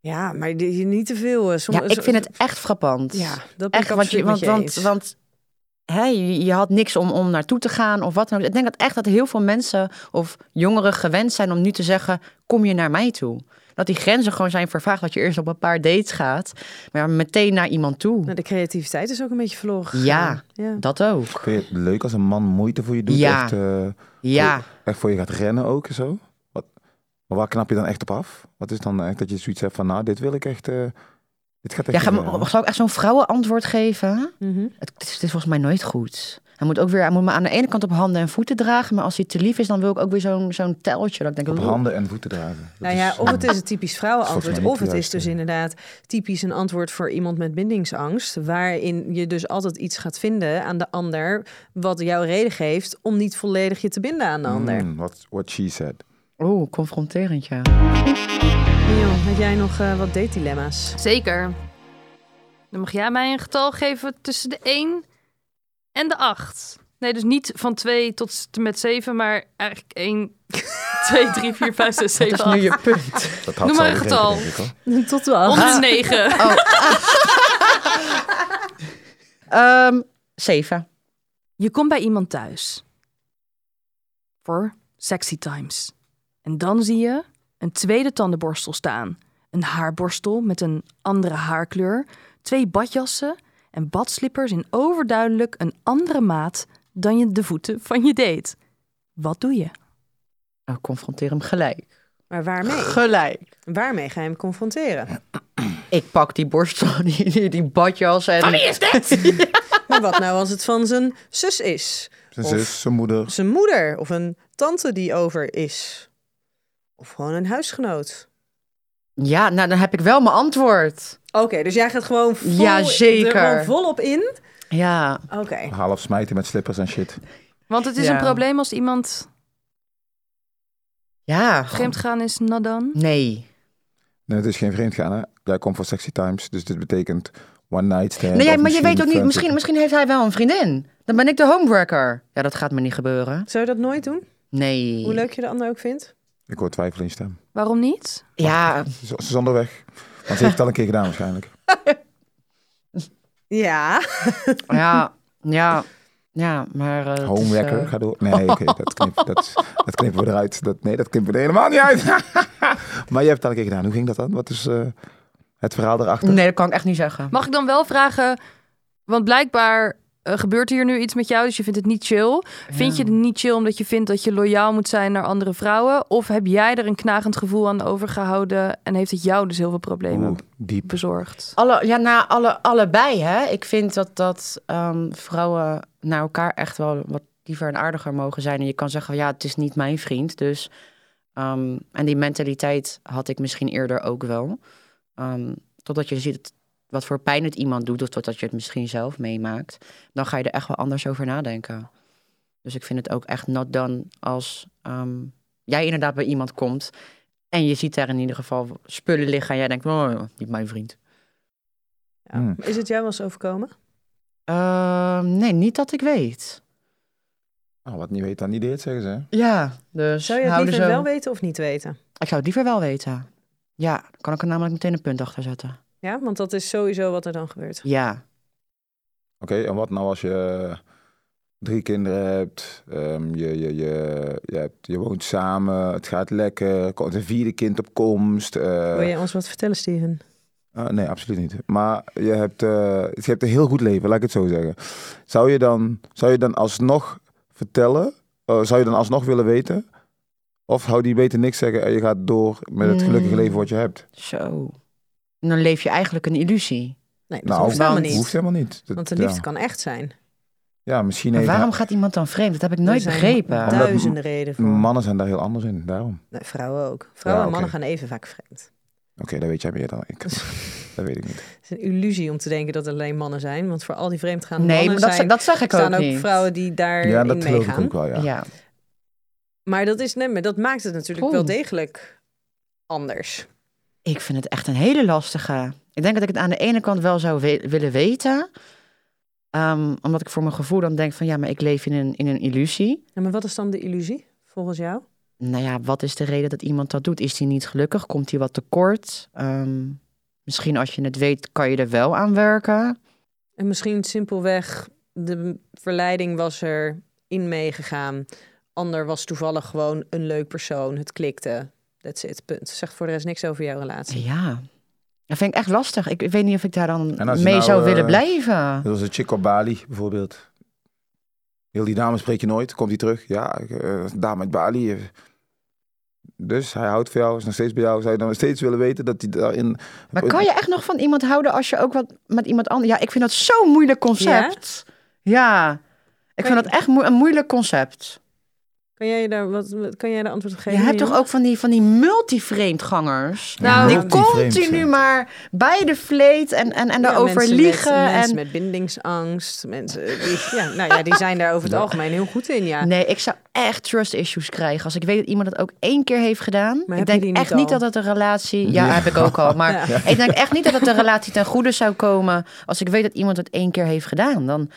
Speaker 4: ja, maar die- niet te veel. eh, somm-
Speaker 6: Ja, ik vind het echt frappant.
Speaker 4: Ja, dat ben
Speaker 6: echt,
Speaker 4: ik
Speaker 6: want, je,
Speaker 4: absoluut
Speaker 6: want,
Speaker 4: met je
Speaker 6: want,
Speaker 4: eens.
Speaker 6: want hè, je, je had niks om, om naartoe te gaan of wat dan ook. Ik denk dat echt dat heel veel mensen of jongeren gewend zijn om nu te zeggen, kom je naar mij toe? Dat die grenzen gewoon zijn vervaagd, dat je eerst op een paar dates gaat, maar meteen naar iemand toe.
Speaker 4: Nou, de creativiteit is ook een beetje verloren. gegaan.
Speaker 6: Ja.
Speaker 4: ja.
Speaker 6: Dat ook.
Speaker 5: Vind je het leuk als een man moeite voor je doet?
Speaker 6: Ja.
Speaker 5: Echt, eh,
Speaker 6: Ja.
Speaker 5: echt voor je gaat rennen ook en zo? Wat, maar waar knap je dan echt op af? Wat is dan echt dat je zoiets hebt van, nou, dit wil ik echt... eh, dit gaat echt eh,
Speaker 6: Ja, ga, oh,
Speaker 5: gebeuren.
Speaker 6: zal ik echt zo'n vrouwenantwoord geven?
Speaker 4: Mhm.
Speaker 6: Het, het, is, het is volgens mij nooit goed. Hij moet ook weer, hij moet me aan de ene kant op handen en voeten dragen, maar als hij te lief is, dan wil ik ook weer zo'n zo'n teltje. Dat ik denk,
Speaker 5: Op handen en voeten dragen. Dat
Speaker 4: Nou ja,
Speaker 5: is,
Speaker 4: of het
Speaker 5: eh,
Speaker 4: is een typisch
Speaker 5: volgens
Speaker 4: vrouwenantwoord, of
Speaker 5: mij niet
Speaker 4: het is
Speaker 5: juist,
Speaker 4: dus
Speaker 5: ja.
Speaker 4: inderdaad typisch een antwoord voor iemand met bindingsangst, waarin je dus altijd iets gaat vinden aan de ander, wat jou reden geeft om niet volledig je te binden aan de ander.
Speaker 5: mm, what, what she said.
Speaker 6: Oeh, confronterend, ja.
Speaker 4: Mion, heb jij nog eh, wat date dilemma's?
Speaker 3: Zeker. Dan mag jij mij een getal geven tussen de 1 en de 8. Nee, dus niet van 2 tot en met 7, maar eigenlijk 1, 2, 3, 4, 5, 6, 7,
Speaker 6: Dat is nu
Speaker 3: 8.
Speaker 6: je punt.
Speaker 5: Dat had
Speaker 3: Noem
Speaker 5: ze
Speaker 3: maar
Speaker 5: al
Speaker 3: een
Speaker 5: begrepen,
Speaker 3: getal.
Speaker 5: denk ik, hoor.
Speaker 2: Tot wel.
Speaker 3: Onder de 9.
Speaker 6: Ehm Seva.
Speaker 3: Je komt bij iemand thuis. Voor sexy times. En dan zie je een tweede tandenborstel staan. Een haarborstel met een andere haarkleur. Twee badjassen en badslippers in overduidelijk een andere maat dan je de voeten van je date. Wat doe je?
Speaker 6: Nou, confronteer hem gelijk.
Speaker 4: Maar waarmee?
Speaker 6: Gelijk.
Speaker 4: Waarmee ga je hem confronteren?
Speaker 6: Ik pak die borstel, die, die, die badjas en...
Speaker 3: is dit?
Speaker 4: Maar wat nou als het van zijn zus is?
Speaker 5: Zijn
Speaker 4: Of-
Speaker 5: zus, zijn moeder.
Speaker 4: Zijn moeder of een tante die over is? Of gewoon een huisgenoot?
Speaker 6: Ja, nou dan heb ik wel mijn antwoord.
Speaker 4: Oké, dus jij gaat gewoon, vol,
Speaker 6: Ja, zeker.
Speaker 4: er gewoon volop in?
Speaker 6: Ja.
Speaker 4: Oké.
Speaker 5: Half smijten met slippers en shit.
Speaker 3: Want het is
Speaker 6: Ja.
Speaker 3: een probleem als iemand
Speaker 6: Ja.
Speaker 3: vreemd gaan is nadan.
Speaker 6: Nee.
Speaker 5: Nee, het is geen vreemd gaan, hè? Jij komt voor sexy times, dus dit betekent one night stand.
Speaker 6: nee
Speaker 5: of
Speaker 6: ja, maar je weet ook niet,
Speaker 5: friendship.
Speaker 6: misschien, misschien heeft hij wel een vriendin. Dan ben ik de homeworker. Ja, dat gaat me niet gebeuren.
Speaker 4: Zou je dat nooit doen?
Speaker 6: Nee.
Speaker 4: Hoe leuk je de ander ook vindt?
Speaker 5: Ik hoor twijfel in je stem.
Speaker 3: Waarom niet?
Speaker 6: Ja,
Speaker 5: Ze ze is onderweg. Want ze heeft het al een keer gedaan waarschijnlijk.
Speaker 4: Ja.
Speaker 6: ja, ja, ja, maar... eh, het is,
Speaker 5: Homeworker,
Speaker 6: eh,
Speaker 5: ga door. Nee, oké, dat, knip, dat, is- dat knippen we eruit. Dat, nee, dat knippen we er helemaal niet uit. maar je hebt het al een keer gedaan. Hoe ging dat dan? Wat is eh, het verhaal daarachter?
Speaker 6: nee, dat kan ik echt niet zeggen.
Speaker 3: Mag ik dan wel vragen, want blijkbaar eh, gebeurt hier nu iets met jou, dus je vindt het niet chill. Vind je het niet chill omdat je vindt dat je loyaal moet zijn naar andere vrouwen? Of heb jij er een knagend gevoel aan overgehouden en heeft het jou dus heel veel problemen
Speaker 5: Oeh, diep.
Speaker 3: bezorgd?
Speaker 6: Alle, ja, nou, alle, allebei, hè. Ik vind dat, dat ehm, vrouwen naar elkaar echt wel wat liever en aardiger mogen zijn. En je kan zeggen, ja, het is niet mijn vriend, dus... ehm, en die mentaliteit had ik misschien eerder ook wel. Ehm, totdat je ziet wat voor pijn het iemand doet... of totdat je het misschien zelf meemaakt. Dan ga je er echt wel anders over nadenken. Dus ik vind het ook echt not done als ehm, jij inderdaad bij iemand komt... en je ziet daar in ieder geval spullen liggen... en jij denkt, oh, niet mijn vriend.
Speaker 4: Ja.
Speaker 5: Hmm.
Speaker 4: Is het jou wel eens overkomen?
Speaker 6: Ehm, nee, niet dat ik weet.
Speaker 5: Nou, wat niet weet, dan niet deed, zeggen ze. hè?
Speaker 6: Ja, dus
Speaker 4: Zou je het
Speaker 6: houden
Speaker 4: liever
Speaker 6: zo.
Speaker 4: wel weten of niet weten?
Speaker 6: Ik zou het liever wel weten. Ja, dan kan ik er namelijk meteen een punt achter zetten.
Speaker 4: Ja, want dat is sowieso wat er dan gebeurt.
Speaker 6: Ja.
Speaker 5: Oké, en wat nou als je drie kinderen hebt, ehm, je, je, je, je, hebt- je woont samen, het gaat lekker, er komt een vierde kind op komst. eh,
Speaker 4: Wil je ons wat vertellen, Steven?
Speaker 5: eh, nee, absoluut niet. Maar je hebt, eh, je hebt een heel goed leven, laat ik het zo zeggen. Zou je dan, zou je dan alsnog vertellen, eh, zou je dan alsnog willen weten? Of hou die beter niks zeggen en je gaat door met
Speaker 4: Hmm.
Speaker 5: het gelukkige
Speaker 6: Mm.
Speaker 5: leven wat je hebt?
Speaker 6: Zo. En dan leef je eigenlijk een illusie.
Speaker 4: Nee, dat
Speaker 5: Nou,
Speaker 4: hoeft helemaal niet.
Speaker 5: Hoeft helemaal niet. Dat-
Speaker 4: Want de liefde
Speaker 5: ja.
Speaker 4: kan echt zijn.
Speaker 5: Ja, misschien
Speaker 6: Maar
Speaker 5: heeft
Speaker 6: waarom
Speaker 5: hij-
Speaker 6: gaat iemand dan vreemd? Dat heb ik nooit
Speaker 4: Er zijn
Speaker 6: begrepen.
Speaker 5: Omdat
Speaker 4: Duizenden redenen voor.
Speaker 5: Mannen zijn daar heel anders in, daarom.
Speaker 4: Nee, vrouwen ook. Vrouwen
Speaker 5: Ja,
Speaker 4: en mannen
Speaker 5: oké.
Speaker 4: gaan even vaak vreemd.
Speaker 5: Oké, dat weet jij meer dan ik.
Speaker 6: Dus-
Speaker 5: Dat weet ik niet.
Speaker 4: Het is een illusie om te denken dat het alleen mannen zijn. Want voor al die vreemdgaande
Speaker 6: Nee, maar
Speaker 4: mannen
Speaker 6: dat, zeg-
Speaker 4: zijn,
Speaker 6: dat zeg ik ook
Speaker 4: staan ook
Speaker 6: niet.
Speaker 4: vrouwen die daarin
Speaker 5: Ja, dat geloof ik
Speaker 4: meegaan.
Speaker 5: ook wel, ja.
Speaker 6: ja.
Speaker 4: Maar dat, is, nee, maar dat maakt het natuurlijk wel
Speaker 6: Oeh.
Speaker 4: degelijk anders.
Speaker 6: Ik vind het echt een hele lastige. Ik denk dat ik het aan de ene kant wel zou we- willen weten. Ehm, omdat ik voor mijn gevoel dan denk van ja, maar ik leef in een, in een illusie.
Speaker 4: Ja, maar wat is dan de illusie, volgens jou?
Speaker 6: Nou ja, wat is de reden dat iemand dat doet? Is die niet gelukkig? Komt die wat tekort? Ehm, misschien als je het weet, kan je er wel aan werken.
Speaker 4: En misschien simpelweg de verleiding was er in meegegaan. Ander was toevallig gewoon een leuk persoon. Het klikte. That's it. Punt. Zegt voor de rest niks over jouw relatie.
Speaker 6: Ja, dat vind ik echt lastig. Ik, ik weet niet of ik daar dan
Speaker 5: En als
Speaker 6: mee
Speaker 5: je nou,
Speaker 6: zou
Speaker 5: eh,
Speaker 6: willen blijven.
Speaker 5: Dat was een chick op Bali, bijvoorbeeld. Heel die dame spreek je nooit. Komt hij terug? Ja, ik, eh, dame uit Bali. eh. Dus hij houdt van jou, is nog steeds bij jou. Zou je dan nog steeds willen weten dat hij daarin...
Speaker 6: Maar kan je echt nog van iemand houden als je ook wat met iemand anders... Ja, ik vind dat zo'n moeilijk concept. Ja, ik vind dat echt moe- een moeilijk concept.
Speaker 4: Kan jij daar wat, wat- kan jij daar antwoord op
Speaker 6: Je
Speaker 4: geven?
Speaker 6: hebt toch
Speaker 4: Jeroen?
Speaker 6: ook van die, van die multi-vreemdgangers...
Speaker 3: Nou,
Speaker 6: Die
Speaker 5: Ja. Multi-vreemd,
Speaker 6: continu
Speaker 5: ja.
Speaker 6: maar bij de vleet en, en, en
Speaker 4: Ja,
Speaker 6: daarover
Speaker 4: mensen
Speaker 6: liegen.
Speaker 4: Met,
Speaker 6: en...
Speaker 4: Mensen met bindingsangst. Mensen die, ja, nou ja, die zijn daar over het algemeen heel goed in, ja.
Speaker 6: Nee, ik zou echt trust issues krijgen als ik weet dat iemand dat ook één keer heeft gedaan.
Speaker 4: heb je
Speaker 6: ik denk
Speaker 4: die niet
Speaker 6: echt niet
Speaker 4: al?
Speaker 6: dat het een relatie. Ja, heb ik ook al. Maar ik denk echt niet dat het een relatie ten goede zou komen als ik weet dat iemand het één keer heeft gedaan. Dan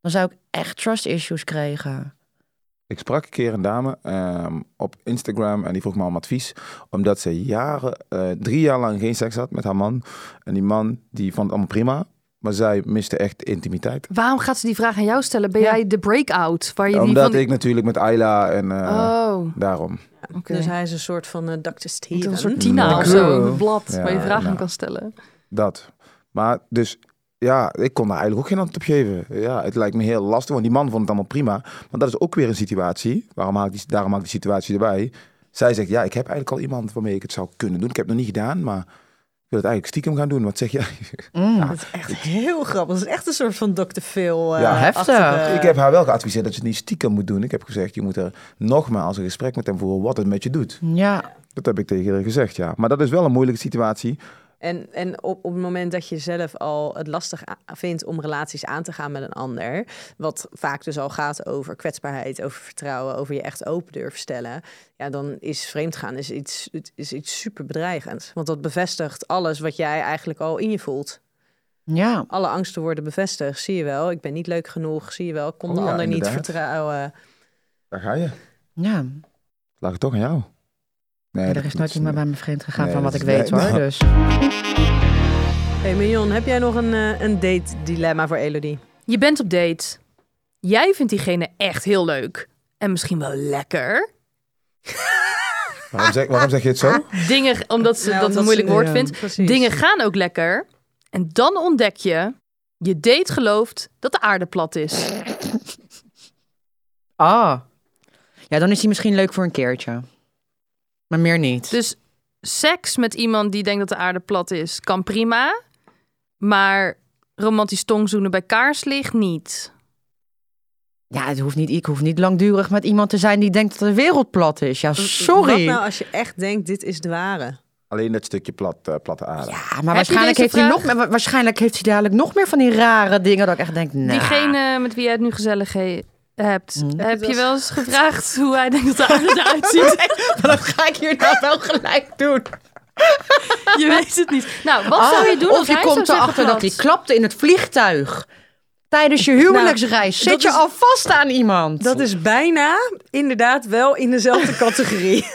Speaker 6: Dan zou ik echt trust issues krijgen.
Speaker 5: Ik sprak een keer een dame ehm, op Instagram en die vroeg me om advies. Omdat ze jaren, eh, drie jaar lang geen seks had met haar man. En die man die vond het allemaal prima. Maar zij miste echt intimiteit.
Speaker 3: Waarom gaat ze die vraag aan jou stellen? Ben
Speaker 6: Ja.
Speaker 3: jij de breakout? Waar je die
Speaker 5: Omdat
Speaker 3: van...
Speaker 5: ik natuurlijk met Ayla en eh,
Speaker 3: Oh,
Speaker 5: daarom.
Speaker 4: Dus hij is een soort van eh Dr.
Speaker 3: het
Speaker 4: Steven.
Speaker 3: was een soort Tina of
Speaker 5: Lekker.
Speaker 3: zo. Een blad
Speaker 5: Ja,
Speaker 3: waar je vragen aan
Speaker 5: nou.
Speaker 3: kan stellen.
Speaker 5: Dat. Maar dus, ja, ik kon daar eigenlijk ook geen antwoord op geven. Ja, het lijkt me heel lastig, want die man vond het allemaal prima. Maar dat is ook weer een situatie. Waarom haal ik die, daarom haal ik die situatie erbij. Zij zegt, ja, ik heb eigenlijk al iemand waarmee ik het zou kunnen doen. Ik heb het nog niet gedaan, maar ik wil het eigenlijk stiekem gaan doen. Wat zeg jij?
Speaker 6: Mm.
Speaker 4: Dat is echt heel grappig. Dat is echt een soort van Dr. Phil. eh,
Speaker 5: Ja,
Speaker 6: heftig.
Speaker 4: achtige-
Speaker 5: ik heb haar wel geadviseerd dat je het niet stiekem moet doen. Ik heb gezegd, je moet er nogmaals een gesprek met hem voeren wat het met je doet.
Speaker 6: Ja,
Speaker 5: Dat heb ik tegen haar gezegd, ja. Maar dat is wel een moeilijke situatie.
Speaker 4: En, en op, op het moment dat je zelf al het lastig a- vindt om relaties aan te gaan met een ander, wat vaak dus al gaat over kwetsbaarheid, over vertrouwen, over je echt open durven stellen, ja, dan is vreemdgaan is iets, het is iets super bedreigends. Want dat bevestigt alles wat jij eigenlijk al in je voelt.
Speaker 6: ja.
Speaker 4: Alle angsten worden bevestigd, zie je wel. Ik ben niet leuk genoeg, zie je wel. Ik kon
Speaker 5: Oh
Speaker 4: de
Speaker 5: ja,
Speaker 4: ander niet
Speaker 5: inderdaad.
Speaker 4: vertrouwen.
Speaker 5: Daar ga je.
Speaker 6: Ja,
Speaker 5: Laat het toch aan jou. Nee,
Speaker 6: er
Speaker 5: dat-
Speaker 6: is
Speaker 5: dat
Speaker 6: nooit iemand bij me vreemd gegaan
Speaker 5: Nee,
Speaker 6: van wat
Speaker 5: dat
Speaker 6: ik
Speaker 5: is-
Speaker 6: weet
Speaker 5: nee,
Speaker 6: hoor.
Speaker 5: nou.
Speaker 6: Dus
Speaker 4: Hey Mignon, heb jij nog een, eh, een date dilemma voor Elodie?
Speaker 3: Je bent op date. Jij vindt diegene echt heel leuk. En misschien wel lekker.
Speaker 5: Waarom zeg, waarom zeg je het zo?
Speaker 3: Dingen, omdat ze dat een moeilijk woord vindt. Dingen gaan ook lekker. En dan ontdek je, je date gelooft dat de aarde plat is.
Speaker 6: Ah. Ja, dan is hij misschien leuk voor een keertje. Maar meer niet.
Speaker 3: Dus seks met iemand die denkt dat de aarde plat is, kan prima. Maar romantisch tongzoenen bij kaarslicht niet.
Speaker 6: ja, het hoeft niet, ik hoef niet langdurig met iemand te zijn die denkt dat de wereld plat is. Ja, sorry.
Speaker 4: Wat nou als je echt denkt, dit is de ware?
Speaker 5: Alleen dat stukje plat, eh, platte aarde.
Speaker 6: Ja, maar waarschijnlijk
Speaker 3: deze
Speaker 6: heeft, hij nog,
Speaker 3: vraag?
Speaker 6: wa- waarschijnlijk heeft hij dadelijk nog meer van die rare dingen dat ik echt denk, nou.
Speaker 3: Diegene met wie jij het nu gezellig he- hebt,
Speaker 6: Hm.
Speaker 3: heb je wel eens gevraagd hoe hij denkt dat de aarde eruit ziet?
Speaker 6: dat ga ik hier nou wel gelijk doen.
Speaker 3: Je weet het niet. Nou, wat zou je doen
Speaker 6: Ah, of
Speaker 3: als
Speaker 6: je
Speaker 3: hij
Speaker 6: komt
Speaker 3: zou
Speaker 6: erachter
Speaker 3: zeggen
Speaker 6: dat hij
Speaker 3: plat?
Speaker 6: klapte in het vliegtuig. Tijdens
Speaker 3: Nou,
Speaker 6: je huwelijksreis
Speaker 4: dat
Speaker 6: zit je
Speaker 4: is-
Speaker 6: al vast aan iemand.
Speaker 4: Dat is bijna inderdaad wel in dezelfde categorie.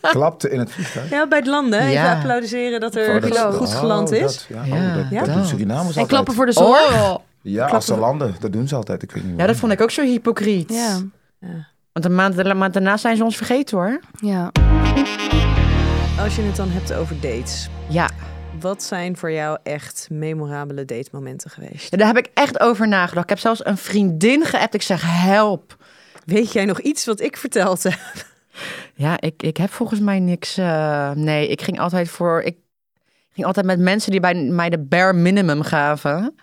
Speaker 5: Klapte in het vliegtuig.
Speaker 4: ja, bij het landen. hè. Even
Speaker 6: Ja.
Speaker 4: applaudiseren dat
Speaker 5: Oh,
Speaker 4: er
Speaker 5: dat-
Speaker 4: goed
Speaker 5: oh,
Speaker 4: geland
Speaker 5: dat-
Speaker 4: is.
Speaker 5: ja,
Speaker 6: Ja,
Speaker 5: oh, dat, dat
Speaker 6: dat.
Speaker 5: doen Surinamers altijd.
Speaker 3: En klappen voor de zorg.
Speaker 6: Oh.
Speaker 5: Ja, als ze landen, dat doen ze altijd. Ik weet niet
Speaker 6: Ja, dat
Speaker 5: waarom.
Speaker 6: vond ik ook zo hypocriet.
Speaker 3: Ja,
Speaker 6: Want een maand, een maand daarna zijn ze ons vergeten hoor.
Speaker 3: ja.
Speaker 4: Als je het dan hebt over dates.
Speaker 6: Ja.
Speaker 4: Wat zijn voor jou echt memorabele datemomenten geweest?
Speaker 6: Ja, Daar heb ik echt over nagedacht. Ik heb zelfs een vriendin geappt. Ik zeg help.
Speaker 4: Weet jij nog iets wat ik vertelde?
Speaker 6: Ja, ik, ik heb volgens mij niks. eh, nee, ik ging altijd voor. Ik ging altijd met mensen die bij mij de bare minimum gaven.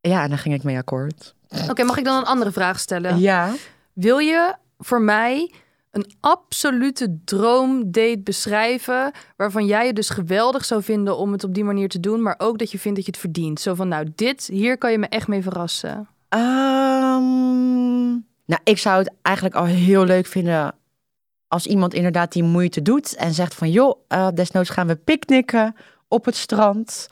Speaker 6: Ja, en daar ging ik mee akkoord.
Speaker 3: Oké, mag ik dan een andere vraag stellen?
Speaker 6: Ja.
Speaker 3: Wil je voor mij een absolute droomdate beschrijven waarvan jij het dus geweldig zou vinden om het op die manier te doen, maar ook dat je vindt dat je het verdient? Zo van, nou, dit, hier kan je me echt mee verrassen.
Speaker 6: Ehm, nou, ik zou het eigenlijk al heel leuk vinden als iemand inderdaad die moeite doet en zegt van joh, eh, desnoods gaan we picknicken op het strand.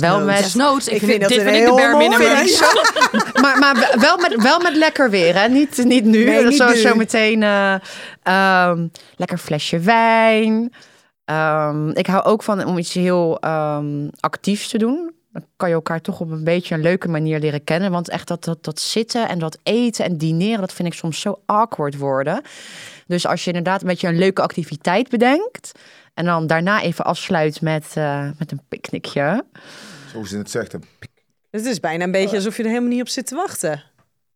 Speaker 6: Wel met-
Speaker 3: Desnoods, ik,
Speaker 4: Ik
Speaker 3: vind,
Speaker 4: vind dat
Speaker 3: dit
Speaker 4: een
Speaker 3: vind ik de
Speaker 4: heel
Speaker 3: bare
Speaker 4: mooi-
Speaker 3: minimum.
Speaker 4: Vind ik zo-
Speaker 6: maar, maar wel, met, wel met lekker weer, hè? Niet, niet nu.
Speaker 4: Nee, niet
Speaker 6: zo,
Speaker 4: nu.
Speaker 6: zo meteen eh, ehm, lekker flesje wijn. Ehm, ik hou ook van om iets heel ehm, actiefs te doen. Dan kan je elkaar toch op een beetje een leuke manier leren kennen. Want echt dat, dat, dat zitten en dat eten en dineren, dat vind ik soms zo awkward worden. Dus als je inderdaad een beetje een leuke activiteit bedenkt. En dan daarna even afsluit met, eh, met een picknickje.
Speaker 5: Zoals ze het zegt. een pik.
Speaker 4: Het is bijna een beetje alsof je er helemaal niet op zit te wachten.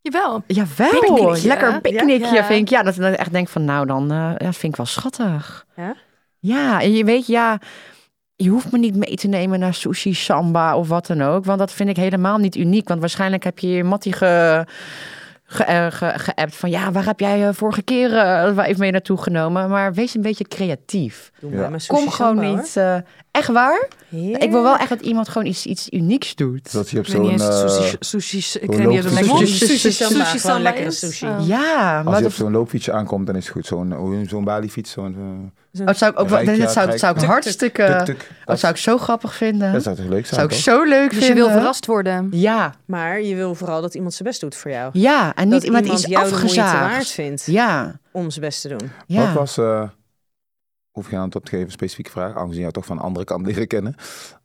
Speaker 3: Jawel.
Speaker 6: Jawel,
Speaker 3: Picknickje.
Speaker 6: lekker een picknickje
Speaker 3: Ja.
Speaker 6: vind ik. Ja, dat, dat ik echt denk van nou dan, eh, ja, vind ik wel schattig.
Speaker 4: Ja?
Speaker 6: Ja, en je weet, ja, je hoeft me niet mee te nemen naar sushi, samba of wat dan ook. Want dat vind ik helemaal niet uniek. Want waarschijnlijk heb je je Mattie ge, ge, eh, ge- geappt van ja, waar heb jij eh, vorige keer eh, even mee naartoe genomen? Maar wees een beetje creatief.
Speaker 4: Doe
Speaker 5: Ja.
Speaker 4: maar maar sushi
Speaker 6: Kom gewoon
Speaker 4: samba, hoor.
Speaker 6: niet eh, Echt waar?
Speaker 4: Ja.
Speaker 6: Ik wil wel echt dat iemand gewoon iets, iets unieks doet.
Speaker 5: Dat je op
Speaker 3: Ik weet niet
Speaker 5: zo'n...
Speaker 3: eens
Speaker 5: eh,
Speaker 3: sushi, sushi, ik
Speaker 5: hoe
Speaker 3: ken niet
Speaker 5: loopt
Speaker 3: eens een
Speaker 5: het?
Speaker 3: lekker
Speaker 6: Sushi-
Speaker 3: sushi,
Speaker 6: sushi
Speaker 4: samba,
Speaker 3: sushi
Speaker 4: gewoon
Speaker 3: samba
Speaker 4: lekkere
Speaker 3: is.
Speaker 4: sushi.
Speaker 3: Oh.
Speaker 6: Ja, maar
Speaker 5: als je op
Speaker 6: dat,
Speaker 5: zo'n loopfietsje aankomt, dan is het goed. Zo'n hoe- zo'n baliefiets, zo'n... eh,
Speaker 6: oh, dat zou ik ook wel.
Speaker 5: Rijkjaar,
Speaker 6: dat zou, dat zou ik
Speaker 5: tuk-tuk,
Speaker 6: hartstikke.
Speaker 5: tuk-tuk.
Speaker 6: Dat zou ik zo grappig vinden.
Speaker 5: Dat zou toch leuk zijn,
Speaker 6: zou ik
Speaker 5: toch?
Speaker 6: zo leuk
Speaker 3: Dus je
Speaker 6: vinden.
Speaker 3: wil verrast worden.
Speaker 6: Ja,
Speaker 4: Maar je wil vooral dat iemand zijn best doet voor jou.
Speaker 6: ja. En
Speaker 4: dat
Speaker 6: niet iemand
Speaker 4: iemand
Speaker 6: iets
Speaker 4: jou de moeite waard
Speaker 6: afgezaagd.
Speaker 4: vindt
Speaker 6: Ja,
Speaker 4: om zijn best te doen.
Speaker 6: ja.
Speaker 5: Wat was, eh hoef geen antwoord te geven, specifieke vraag, aangezien jou toch van een andere kant leren kennen.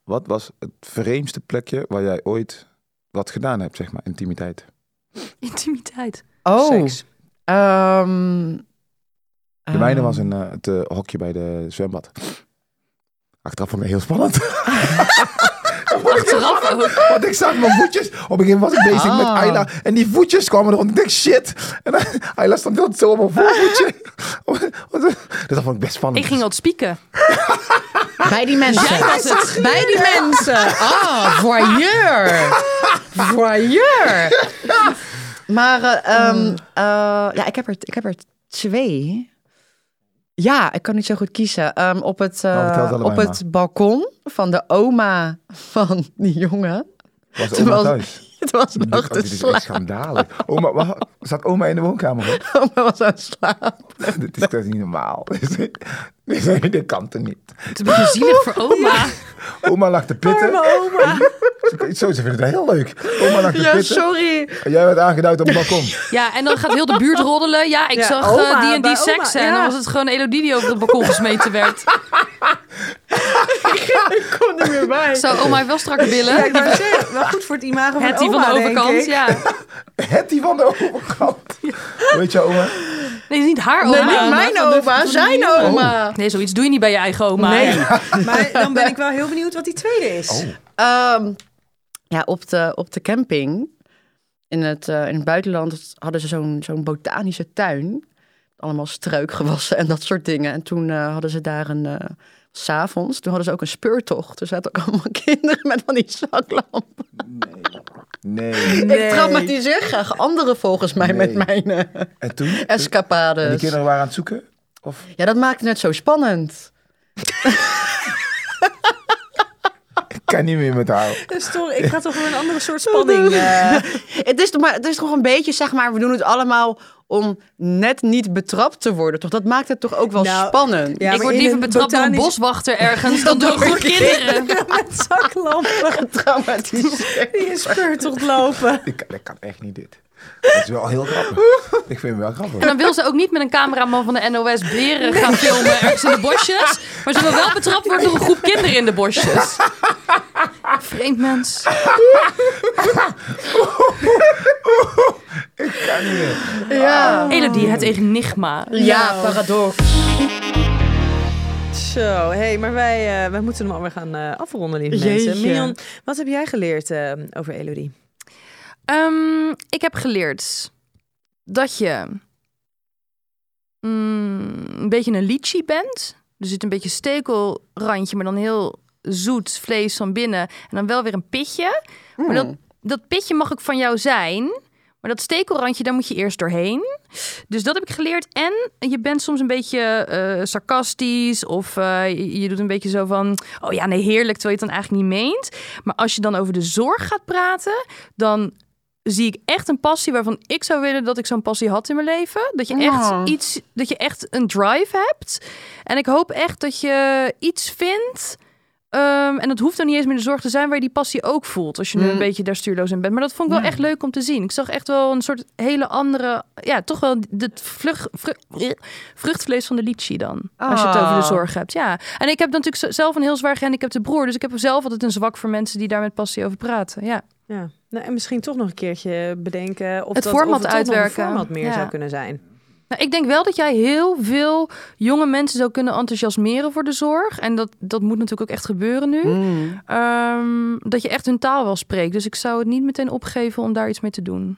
Speaker 5: Wat was het vreemdste plekje waar jij ooit wat gedaan hebt, zeg maar, intimiteit?
Speaker 3: Intimiteit.
Speaker 6: oh,
Speaker 4: Seks.
Speaker 6: ehm,
Speaker 3: Ah.
Speaker 5: De mijne
Speaker 6: ehm,
Speaker 5: was een, eh, het eh, hokje bij de zwembad. Achteraf vond ik het heel spannend.
Speaker 3: Achteraf ook.
Speaker 5: Want ik zag mijn voetjes. Op een gegeven moment was ik bezig met
Speaker 6: Ah.
Speaker 5: Ayla. En die voetjes kwamen rond. Ik dacht, shit. En dan- Ayla stond heel zo op mijn voorvoetje. dus dat vond ik best spannend.
Speaker 3: Ik ging al spieken.
Speaker 6: Bij die mensen.
Speaker 3: Jij was het.
Speaker 6: Bij die mensen. Ah, voyeur. Voyeur. Maar eh, ehm, eh, ja, ik, heb er, ik heb er twee. Ja, ik kan niet zo goed kiezen. Ehm, op het, eh,
Speaker 5: Nou, vertel het allebei
Speaker 6: op het balkon van de oma van die jongen.
Speaker 5: was oma
Speaker 6: Terwijl-
Speaker 5: thuis.
Speaker 6: Het was nog
Speaker 5: Dit,
Speaker 6: te
Speaker 5: dit is echt
Speaker 6: slapen.
Speaker 5: schandalig. Oma, wa- zat oma in de woonkamer? hoor?
Speaker 6: Oma was aan het slapen.
Speaker 5: dit is toch niet normaal? Nee, dat kan toch niet?
Speaker 3: Het is een beetje zielig voor oma.
Speaker 5: Oma lag te pitten. oma. Zo, ze vindt het heel leuk. Oma lag te
Speaker 6: Ja,
Speaker 5: pitten.
Speaker 6: sorry.
Speaker 5: En jij werd aangeduid op het balkon.
Speaker 3: Ja, en dan gaat heel de buurt roddelen. Ja, ik
Speaker 4: Ja,
Speaker 3: zag eh,
Speaker 4: oma,
Speaker 3: die en die
Speaker 4: bij oma,
Speaker 3: seks. En dan
Speaker 4: ja.
Speaker 3: was het gewoon Elodie die over het balkon gesmeten werd.
Speaker 6: Ik kon er meer bij.
Speaker 3: Zou oma heeft wel strakke
Speaker 4: Ja,
Speaker 3: billen?
Speaker 4: ik wou zeggen, wel goed voor het imago van
Speaker 3: Het die
Speaker 4: oma,
Speaker 3: van de
Speaker 4: denk
Speaker 3: overkant,
Speaker 4: ik.
Speaker 3: ja.
Speaker 5: Hetty van de overkant. Weet je, oma?
Speaker 3: Nee, niet haar
Speaker 6: Nee,
Speaker 3: oma.
Speaker 6: niet mijn oma, zijn oma.
Speaker 5: Oh.
Speaker 3: Nee, zoiets doe je niet bij je eigen oma.
Speaker 6: Nee.
Speaker 4: Maar dan ben ik wel heel benieuwd wat die tweede is.
Speaker 6: Ehm, ja, op de, op de camping in het, eh, in het buitenland hadden ze zo'n zo'n botanische tuin. Allemaal struikgewassen en dat soort dingen. En toen eh, hadden ze daar een... eh, s S'avonds, toen hadden ze ook een speurtocht. Er zaten ook allemaal kinderen met van die zaklampen.
Speaker 5: Nee.
Speaker 6: Ik traumatiseer graag anderen volgens mij
Speaker 5: Nee.
Speaker 6: met mijn eh,
Speaker 5: En toen? En die
Speaker 6: escapades.
Speaker 5: kinderen waren aan het zoeken? Of?
Speaker 6: Ja, dat maakt het net zo spannend.
Speaker 5: Ik kan niet meer met haar.
Speaker 4: Dus toch, ik ga toch wel een andere soort spanning. eh,
Speaker 6: Het is, toch maar, het is toch een beetje, zeg maar, we doen het allemaal om net niet betrapt te worden. Toch? Dat maakt het toch ook wel
Speaker 4: Nou,
Speaker 6: spannend.
Speaker 4: ja,
Speaker 3: ik
Speaker 4: maar
Speaker 3: word
Speaker 4: in
Speaker 3: liever
Speaker 4: een
Speaker 3: betrapt door een
Speaker 4: botanisch-
Speaker 3: boswachter ergens dan door gewoon kinderen.
Speaker 4: met zaklampen
Speaker 6: traumatiseerd.
Speaker 4: die een speurtocht lopen.
Speaker 5: Ik, kan- ik kan echt niet dit. Dat is wel heel grappig. Ik vind hem wel grappig.
Speaker 3: En dan wil ze ook niet met een cameraman van de NOS beren gaan filmen ergens in de bosjes. Maar ze wil wel betrapt worden door een groep kinderen in de bosjes. Vreemd mens.
Speaker 6: Ja.
Speaker 3: Elodie, het enigma.
Speaker 6: ja, paradox.
Speaker 4: Zo, hey, maar wij, eh, wij moeten hem alweer gaan eh, afronden, lieve mensen.
Speaker 6: Jeetje.
Speaker 4: Mignon, wat heb jij geleerd eh, over Elodie?
Speaker 3: Ehm, ik heb geleerd dat je mm, een beetje een lychee bent. Er zit een beetje stekelrandje, maar dan heel zoet vlees van binnen. En dan wel weer een pitje. Maar dat, dat pitje mag ook van jou zijn. Maar dat stekelrandje, daar moet je eerst doorheen. Dus dat heb ik geleerd. En je bent soms een beetje eh, sarcastisch. Of eh, je- je doet een beetje zo van... Oh ja, nee, heerlijk. Terwijl je het dan eigenlijk niet meent. Maar als je dan over de zorg gaat praten... dan zie ik echt een passie waarvan ik zou willen dat ik zo'n passie had in mijn leven. Dat je
Speaker 6: Oh.
Speaker 3: echt iets... Dat je echt een drive hebt. En ik hoop echt dat je iets vindt... ehm, en dat hoeft dan niet eens meer de zorg te zijn waar je die passie ook voelt. Als je
Speaker 6: Mm.
Speaker 3: nu een beetje daar stuurloos in bent. Maar dat vond ik wel echt leuk om te zien. Ik zag echt wel een soort hele andere. Ja, toch wel het vlug, vru- vruchtvlees van de lychee dan. Als je het over de
Speaker 6: Ah.
Speaker 3: zorg hebt. Ja. En ik heb dan natuurlijk z- zelf een heel zwaar gehandicapte broer. Dus ik heb zelf altijd een zwak voor mensen die daar met passie over praten. Ja.
Speaker 4: Ja. Nou, en misschien toch nog een keertje bedenken of
Speaker 3: Het
Speaker 4: dat,
Speaker 3: format
Speaker 4: of toch nog
Speaker 3: uitwerken.
Speaker 4: een format meer
Speaker 3: Ja.
Speaker 4: zou kunnen zijn.
Speaker 3: Nou, ik denk wel dat jij heel veel jonge mensen zou kunnen enthousiasmeren voor de zorg. En dat, dat moet natuurlijk ook echt gebeuren nu.
Speaker 4: Mm.
Speaker 3: Ehm, dat je echt hun taal wel spreekt. Dus ik zou het niet meteen opgeven om daar iets mee te doen.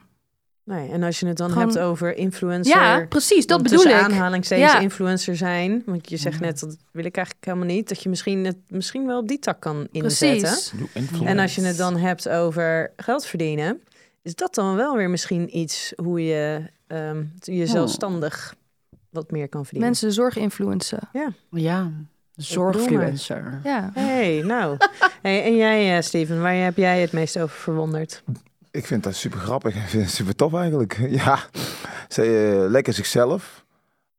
Speaker 4: Nee, Nou en als je het dan
Speaker 3: Gewoon-
Speaker 4: hebt over influencer...
Speaker 3: Ja, precies. Dat
Speaker 4: dan
Speaker 3: bedoel
Speaker 4: tussen
Speaker 3: ik.
Speaker 4: aanhalingstekens
Speaker 3: Ja. Mm.
Speaker 4: influencer zijn. Want je zegt net, dat wil ik eigenlijk helemaal niet. Dat je misschien het misschien wel op die tak kan inzetten.
Speaker 3: Precies.
Speaker 4: En als je het dan hebt over geld verdienen, is dat dan wel weer misschien iets hoe je ehm, je zelfstandig wat meer kan verdienen.
Speaker 3: Mensen de zorg influencen.
Speaker 6: Ja. Zorgfluencer.
Speaker 3: Ja.
Speaker 4: hey, nou. Hey, en jij, eh, Steven, waar heb jij het meest over verwonderd?
Speaker 5: Ik vind dat super grappig. Ik vind het super tof eigenlijk. Ja, ze eh, lekker zichzelf.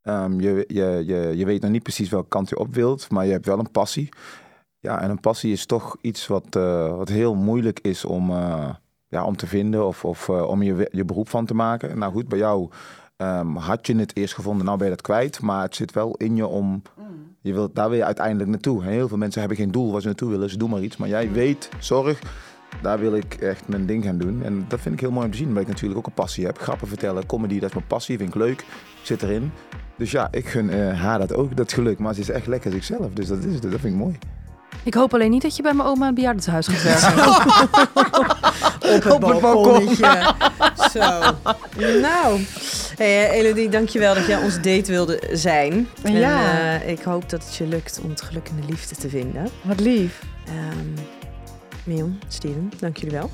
Speaker 5: Ehm, je, je, je, je weet nog niet precies welke kant je op wilt, maar je hebt wel een passie. Ja, en een passie is toch iets wat, eh, wat heel moeilijk is om, eh, ja, om te vinden of, of eh, om je, we- je beroep van te maken. Nou goed, bij jou ehm, had je het eerst gevonden, nou ben je dat kwijt. Maar het zit wel in je om, je wilt, daar wil je uiteindelijk naartoe. En heel veel mensen hebben geen doel waar ze naartoe willen, ze doen maar iets. Maar jij weet, zorg, daar wil ik echt mijn ding gaan doen. En dat vind ik heel mooi om te zien, omdat ik natuurlijk ook een passie heb. Grappen vertellen, comedy, dat is mijn passie, vind ik leuk, zit erin. Dus ja, ik gun eh, haar dat ook, dat geluk. Maar ze is echt lekker zichzelf, dus dat, is, het. dat vind ik mooi.
Speaker 3: Ik hoop alleen niet dat je bij mijn oma in het bejaardentehuis gaat werken.
Speaker 4: Op het, balkonnetje. Zo. Nou. Hey, eh, Elodie, dankjewel dat jij ons date wilde zijn.
Speaker 6: Ja.
Speaker 4: En, eh, ik hoop dat het je lukt om het geluk in de liefde te vinden.
Speaker 6: Wat lief.
Speaker 4: Ehm Mion, Steven, dank jullie wel.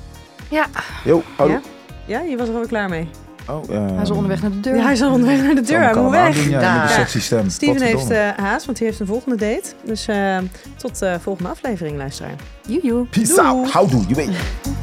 Speaker 3: ja,
Speaker 5: Jo, hallo.
Speaker 4: Ja? Ja, je was er al klaar mee.
Speaker 5: Oh, ehm,
Speaker 3: hij is al onderweg naar de deur.
Speaker 4: Ja, hij is al onderweg naar de deur.
Speaker 5: kan
Speaker 4: Hij
Speaker 5: ik
Speaker 4: moet
Speaker 5: allemaal
Speaker 4: weg.
Speaker 5: aandoen, Ja, met die
Speaker 4: Ja.
Speaker 5: sexy stem.
Speaker 4: Steven heeft
Speaker 5: Potverdomme.
Speaker 4: eh, haast, want die heeft een volgende date. Dus eh, tot de volgende eh, aflevering, luisteraar.
Speaker 3: Joejoe.
Speaker 5: Peace out. Houdoe, je weet.